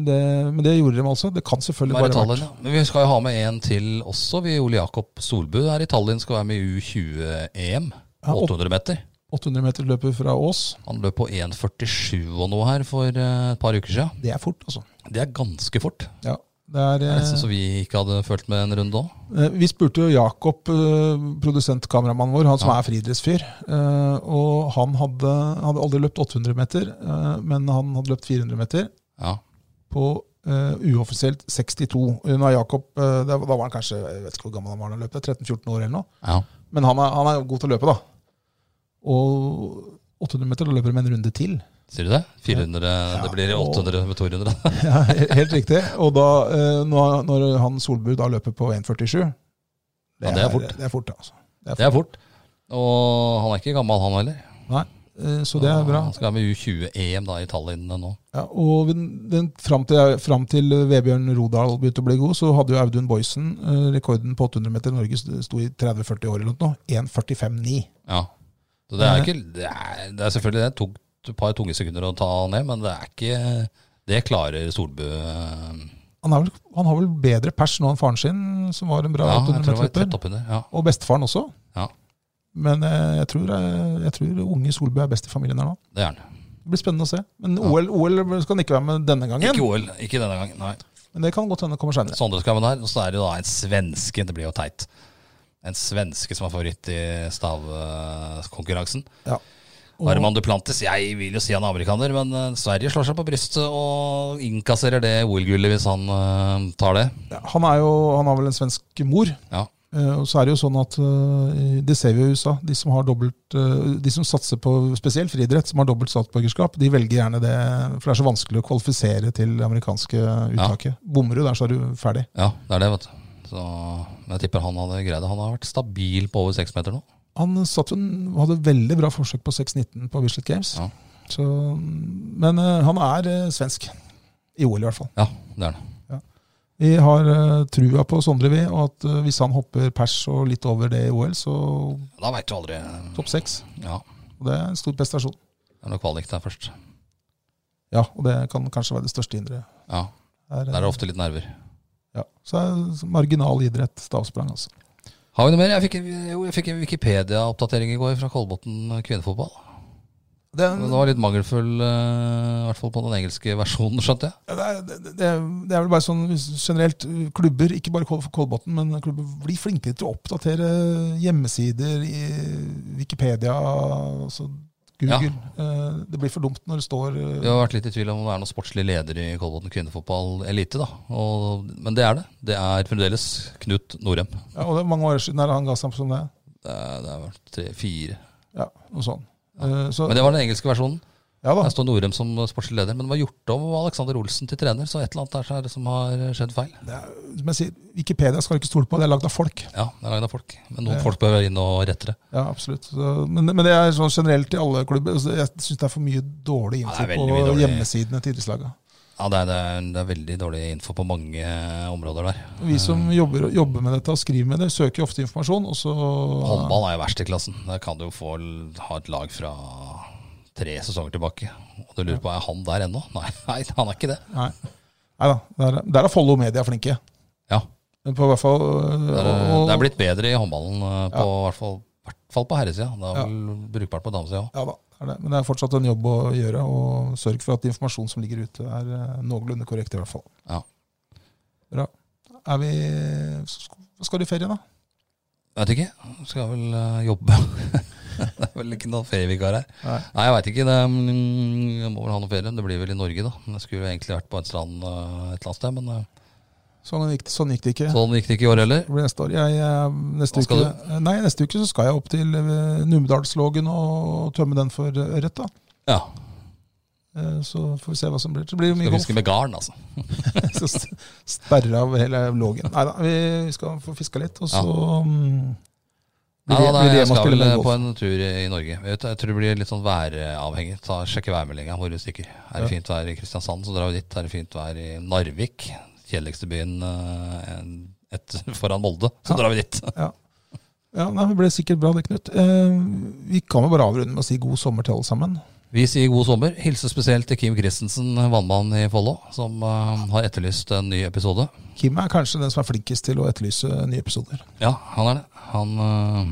Speaker 2: det, men det gjorde de altså. Det kan
Speaker 1: De
Speaker 2: selvfølgelig
Speaker 1: er i
Speaker 2: bare ha
Speaker 1: Tallinn,
Speaker 2: vært
Speaker 1: ja. Men vi skal jo ha med en til også. Vi Ole Jakob Solbu er i Tallinn, skal være med i U20-EM.
Speaker 2: Ja, opp-
Speaker 1: 800 meter.
Speaker 2: 800 meter løpet fra Ås.
Speaker 1: Han løp på 1,47 og noe her for eh, et par uker siden.
Speaker 2: Det er fort, altså.
Speaker 1: Det er ganske fort.
Speaker 2: Ja, det er,
Speaker 1: Det er
Speaker 2: eh,
Speaker 1: Nesten så vi ikke hadde følt med en runde òg.
Speaker 2: Eh, Vi spurte jo Jakob, eh, produsentkameramannen vår, han som
Speaker 1: Ja.
Speaker 2: er friidrettsfyr. eh, Og han hadde, hadde aldri løpt 800 meter, eh, men han hadde løpt 400 meter
Speaker 1: Ja.
Speaker 2: på eh, uoffisielt 62. Nå er Jakob, eh, det- da var han kanskje jeg vet ikke hvor gammel han var da han løp, det er 13-14 år eller noe.
Speaker 1: ja.
Speaker 2: Men han er, han er god til å løpe, da. Og 800 meter, da løper de en runde til.
Speaker 1: Sier du det? 400, Det blir 800 med 200.
Speaker 2: Ja, he- helt riktig. Og da, eh, når, når han Solbu da løper på 1,47
Speaker 1: Ja, det er fort.
Speaker 2: Det er fort, altså.
Speaker 1: Det er fort. Og han er ikke gammel, han heller.
Speaker 2: Nei, eh, så det er bra.
Speaker 1: Han skal være med U20-EM da i Tallinn nå.
Speaker 2: Ja, og den, den, fram, til, fram til Vebjørn Rodal begynte å bli god, så hadde jo Audun Boysen eh, rekorden på 800 meter i Norge st- sto i 30-40 år eller noe. 1.45,9.
Speaker 1: Ja. Så det er ikke Det er, det er selvfølgelig det. Tok et par tunge sekunder å ta ned, men det er ikke Det klarer Solbø. eh, Ja,
Speaker 2: Han, er vel- han har vel bedre pers nå enn faren sin, som var en bra
Speaker 1: jeg tror
Speaker 2: 800
Speaker 1: det var
Speaker 2: meter-løper.
Speaker 1: tett oppunder. Ja.
Speaker 2: Og bestefaren også.
Speaker 1: Ja.
Speaker 2: Men eh, jeg tror, eh, jeg tror unge Solbø er best i familien her nå.
Speaker 1: Det er han.
Speaker 2: Det blir spennende å se. Men OL, OL skal han ikke være med denne gangen.
Speaker 1: Ikke OL, ikke denne gangen. Nei.
Speaker 2: Men det kan godt hende kommer senere.
Speaker 1: Sondre skal være med der. Og så er det jo da en svenske. Det blir jo teit. En svenske som er favoritt i eh, stavkonkurransen.
Speaker 2: Ja. Og-
Speaker 1: Arman Duplantis, jeg vil jo si han er amerikaner, men eh, Sverige slår seg på brystet og innkasserer det OL-gullet hvis han eh, tar det.
Speaker 2: Ja, han, er jo, han har vel en svensk mor.
Speaker 1: Ja.
Speaker 2: Eh, Og så er det jo sånn at eh, det ser vi jo i USA. De som, har dobbelt, eh, de som satser på spesielt friidrett, som har dobbelt statsborgerskap, de velger gjerne det, for det er så vanskelig å kvalifisere til det amerikanske uttaket. Bommer du der, så er du ferdig.
Speaker 1: ja, det er det, vet du. Så, men jeg tipper han hadde greid det. Han har vært stabil på over seks meter nå.
Speaker 2: Han satt jo, en- hadde veldig bra forsøk på 6.19 på Bislett Games.
Speaker 1: Ja.
Speaker 2: Så, men eh, han er eh, svensk. I OL, i hvert fall.
Speaker 1: Ja, det er han.
Speaker 2: Vi har eh, trua på Sondre, vi. Og at eh, hvis han hopper pers og litt over det i OL, så
Speaker 1: Da veit du aldri.
Speaker 2: topp seks.
Speaker 1: Ja,
Speaker 2: Og det er en stor prestasjon.
Speaker 1: det er nok kvalik der først.
Speaker 2: Ja, og det kan kanskje være det største hinderet.
Speaker 1: Ja,
Speaker 2: Er,
Speaker 1: Der er det ofte litt nerver.
Speaker 2: Ja. Så er marginal idrett stavsprang, altså.
Speaker 1: Har vi noe mer? Jeg fikk, jo, jeg fikk en Wikipedia-oppdatering i går fra Kolbotn kvinnefotball.
Speaker 2: Den,
Speaker 1: Den var litt mangelfull, eh, i hvert fall på den engelske versjonen, skjønte jeg.
Speaker 2: det, er- det, det, det er vel bare sånn generelt klubber, ikke bare Kol- Kolbotn, men klubber blir flinkere til å oppdatere hjemmesider i Wikipedia, altså Google. Eh, Det blir for dumt når det står eh,
Speaker 1: Vi har vært litt i tvil om det er noen sportslig leder i Kolbotn kvinnefotball elite, da. Og, men det er det. Det er fremdeles Knut Norem.
Speaker 2: ja, Og det er mange år siden her han ga seg opp som det.
Speaker 1: Det er, det er vel tre, fire.
Speaker 2: Ja, noe sånn. Eh, Så,
Speaker 1: Men det var den engelske versjonen.
Speaker 2: ja da.
Speaker 1: Der står Norem som sportslig leder. Men det var gjort om av Alexander Olsen til trener, så et eller annet der så er det som har skjedd feil.
Speaker 2: Det er, som jeg sier, Wikipedia skal du ikke stole på, det er lagd av folk.
Speaker 1: Ja, det er lagd av folk. Men noen
Speaker 2: Ja.
Speaker 1: folk bør inn og rette det.
Speaker 2: Ja, absolutt. Så, men, men det er sånn generelt i alle klubber. Altså, jeg syns det er for mye dårlig
Speaker 1: Ja,
Speaker 2: info
Speaker 1: det er veldig
Speaker 2: på
Speaker 1: mye dårlig.
Speaker 2: hjemmesidene til idrettslagene.
Speaker 1: Ja, det er, det, er, det er veldig dårlig info på mange områder der.
Speaker 2: Vi som
Speaker 1: Eh.
Speaker 2: jobber, jobber med dette og skriver med det, søker jo ofte informasjon, og så
Speaker 1: Håndball er jo verst i klassen. Der kan du jo få l- ha et lag fra tre sesonger tilbake. Og du lurer på er han der ennå? Nei, nei, han er ikke det.
Speaker 2: Nei. Nei da, der, der er Follo Media flinke.
Speaker 1: Ja.
Speaker 2: På hvert fall eh,
Speaker 1: Det er,
Speaker 2: og-
Speaker 1: eh, det er blitt bedre i håndballen, eh, på,
Speaker 2: Ja.
Speaker 1: hvert, fall, hvert fall på herresida. Det er
Speaker 2: Ja.
Speaker 1: vel brukbart på damesida òg.
Speaker 2: Ja da, det er det. Men det er fortsatt en jobb å gjøre. Og sørg for at informasjon som ligger ute, er eh, noenlunde korrekt, i hvert fall.
Speaker 1: Ja.
Speaker 2: Bra. Er vi Hva skal du i ferien, da?
Speaker 1: Veit ikke. Skal vel eh, jobbe. det er vel ikke noen ferievikar her.
Speaker 2: Nei.
Speaker 1: Nei, jeg veit ikke. Det, mm, jeg må vel ha noe ferie. Det blir vel i Norge, da. Jeg skulle jo egentlig vært på et strand eh, et eller annet sted, men eh,
Speaker 2: Sånn gikk, det- sånn gikk det ikke.
Speaker 1: sånn gikk det ikke i år heller.
Speaker 2: Det blir neste år. Jeg, eh, neste,
Speaker 1: Hva skal
Speaker 2: uke, nei, neste uke så skal jeg opp til eh, Numedalslågen og tømme den for eh, ørret. da.
Speaker 1: Ja.
Speaker 2: Eh, Så får vi se hva som blir. Så blir det mye
Speaker 1: Skal
Speaker 2: golf.
Speaker 1: fiske med garn, altså.
Speaker 2: Så st- Sperre av hele lågen. Nei da, vi skal få fiska litt, og så mm,
Speaker 1: Nei,
Speaker 2: blir det-
Speaker 1: da,
Speaker 2: blir det
Speaker 1: jeg
Speaker 2: hjemme og
Speaker 1: skal
Speaker 2: spille
Speaker 1: vel eh,
Speaker 2: golf.
Speaker 1: på en tur i i Norge. Jeg, vet, jeg tror det blir litt sånn væravhengig. Ta, sjekke værmeldinga hvor du stikker. Er det fint vær i Kristiansand, så drar vi dit. Er det fint vær i Narvik, kjedeligste byen eh, en- et, foran Molde, så
Speaker 2: Ja.
Speaker 1: drar vi dit.
Speaker 2: Ja, nei, Det ble sikkert bra, det, Knut. Eh, vi kan jo bare avrunde med å si god sommer til alle sammen.
Speaker 1: Vi sier god sommer. Hilser spesielt til Kim Christensen, vannmann i Follo, som eh, har etterlyst en ny episode.
Speaker 2: Kim er kanskje den som er flinkest til å etterlyse nye episoder.
Speaker 1: Ja, han er det. Han eh,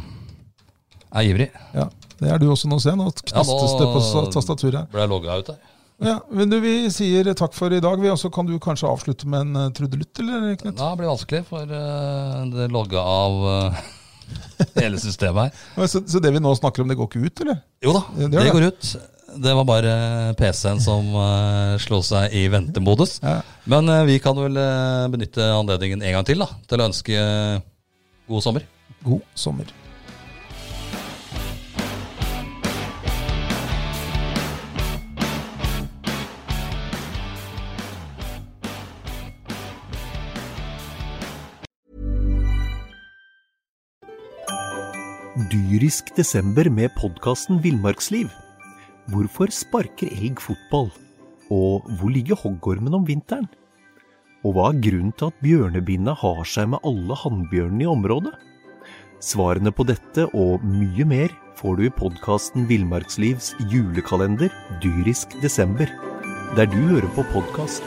Speaker 1: er ivrig.
Speaker 2: Ja, Det er du også nå, ser jeg. Nå knastes
Speaker 1: nå-
Speaker 2: det på sa- tastaturet. her.
Speaker 1: Ble jeg logga ut der?
Speaker 2: Ja, men du, Vi sier takk for i dag. Vi også, kan du kanskje avslutte med en eh, trudelutt, eller, Knut?
Speaker 1: Ja, det blir vanskelig, for eh, det logga av eh, hele systemet her.
Speaker 2: Så, så det vi nå snakker om, det går ikke ut, eller?
Speaker 1: Jo da,
Speaker 2: Ja, det
Speaker 1: det,
Speaker 2: gjør det.
Speaker 1: går ut. Det var bare PC-en som uh, slo seg i ventemodus.
Speaker 2: Ja.
Speaker 1: Men eh, vi kan vel eh, benytte anledningen en gang til da, til å ønske eh, god sommer.
Speaker 2: God sommer.
Speaker 3: Dyrisk desember med podkasten Villmarksliv. Hvorfor sparker elg fotball? Og hvor ligger hoggormen om vinteren? Og hva er grunnen til at bjørnebinna har seg med alle hannbjørnene i området? Svarene på dette og mye mer får du i podkasten Villmarkslivs julekalender Dyrisk desember, der du hører på podkast.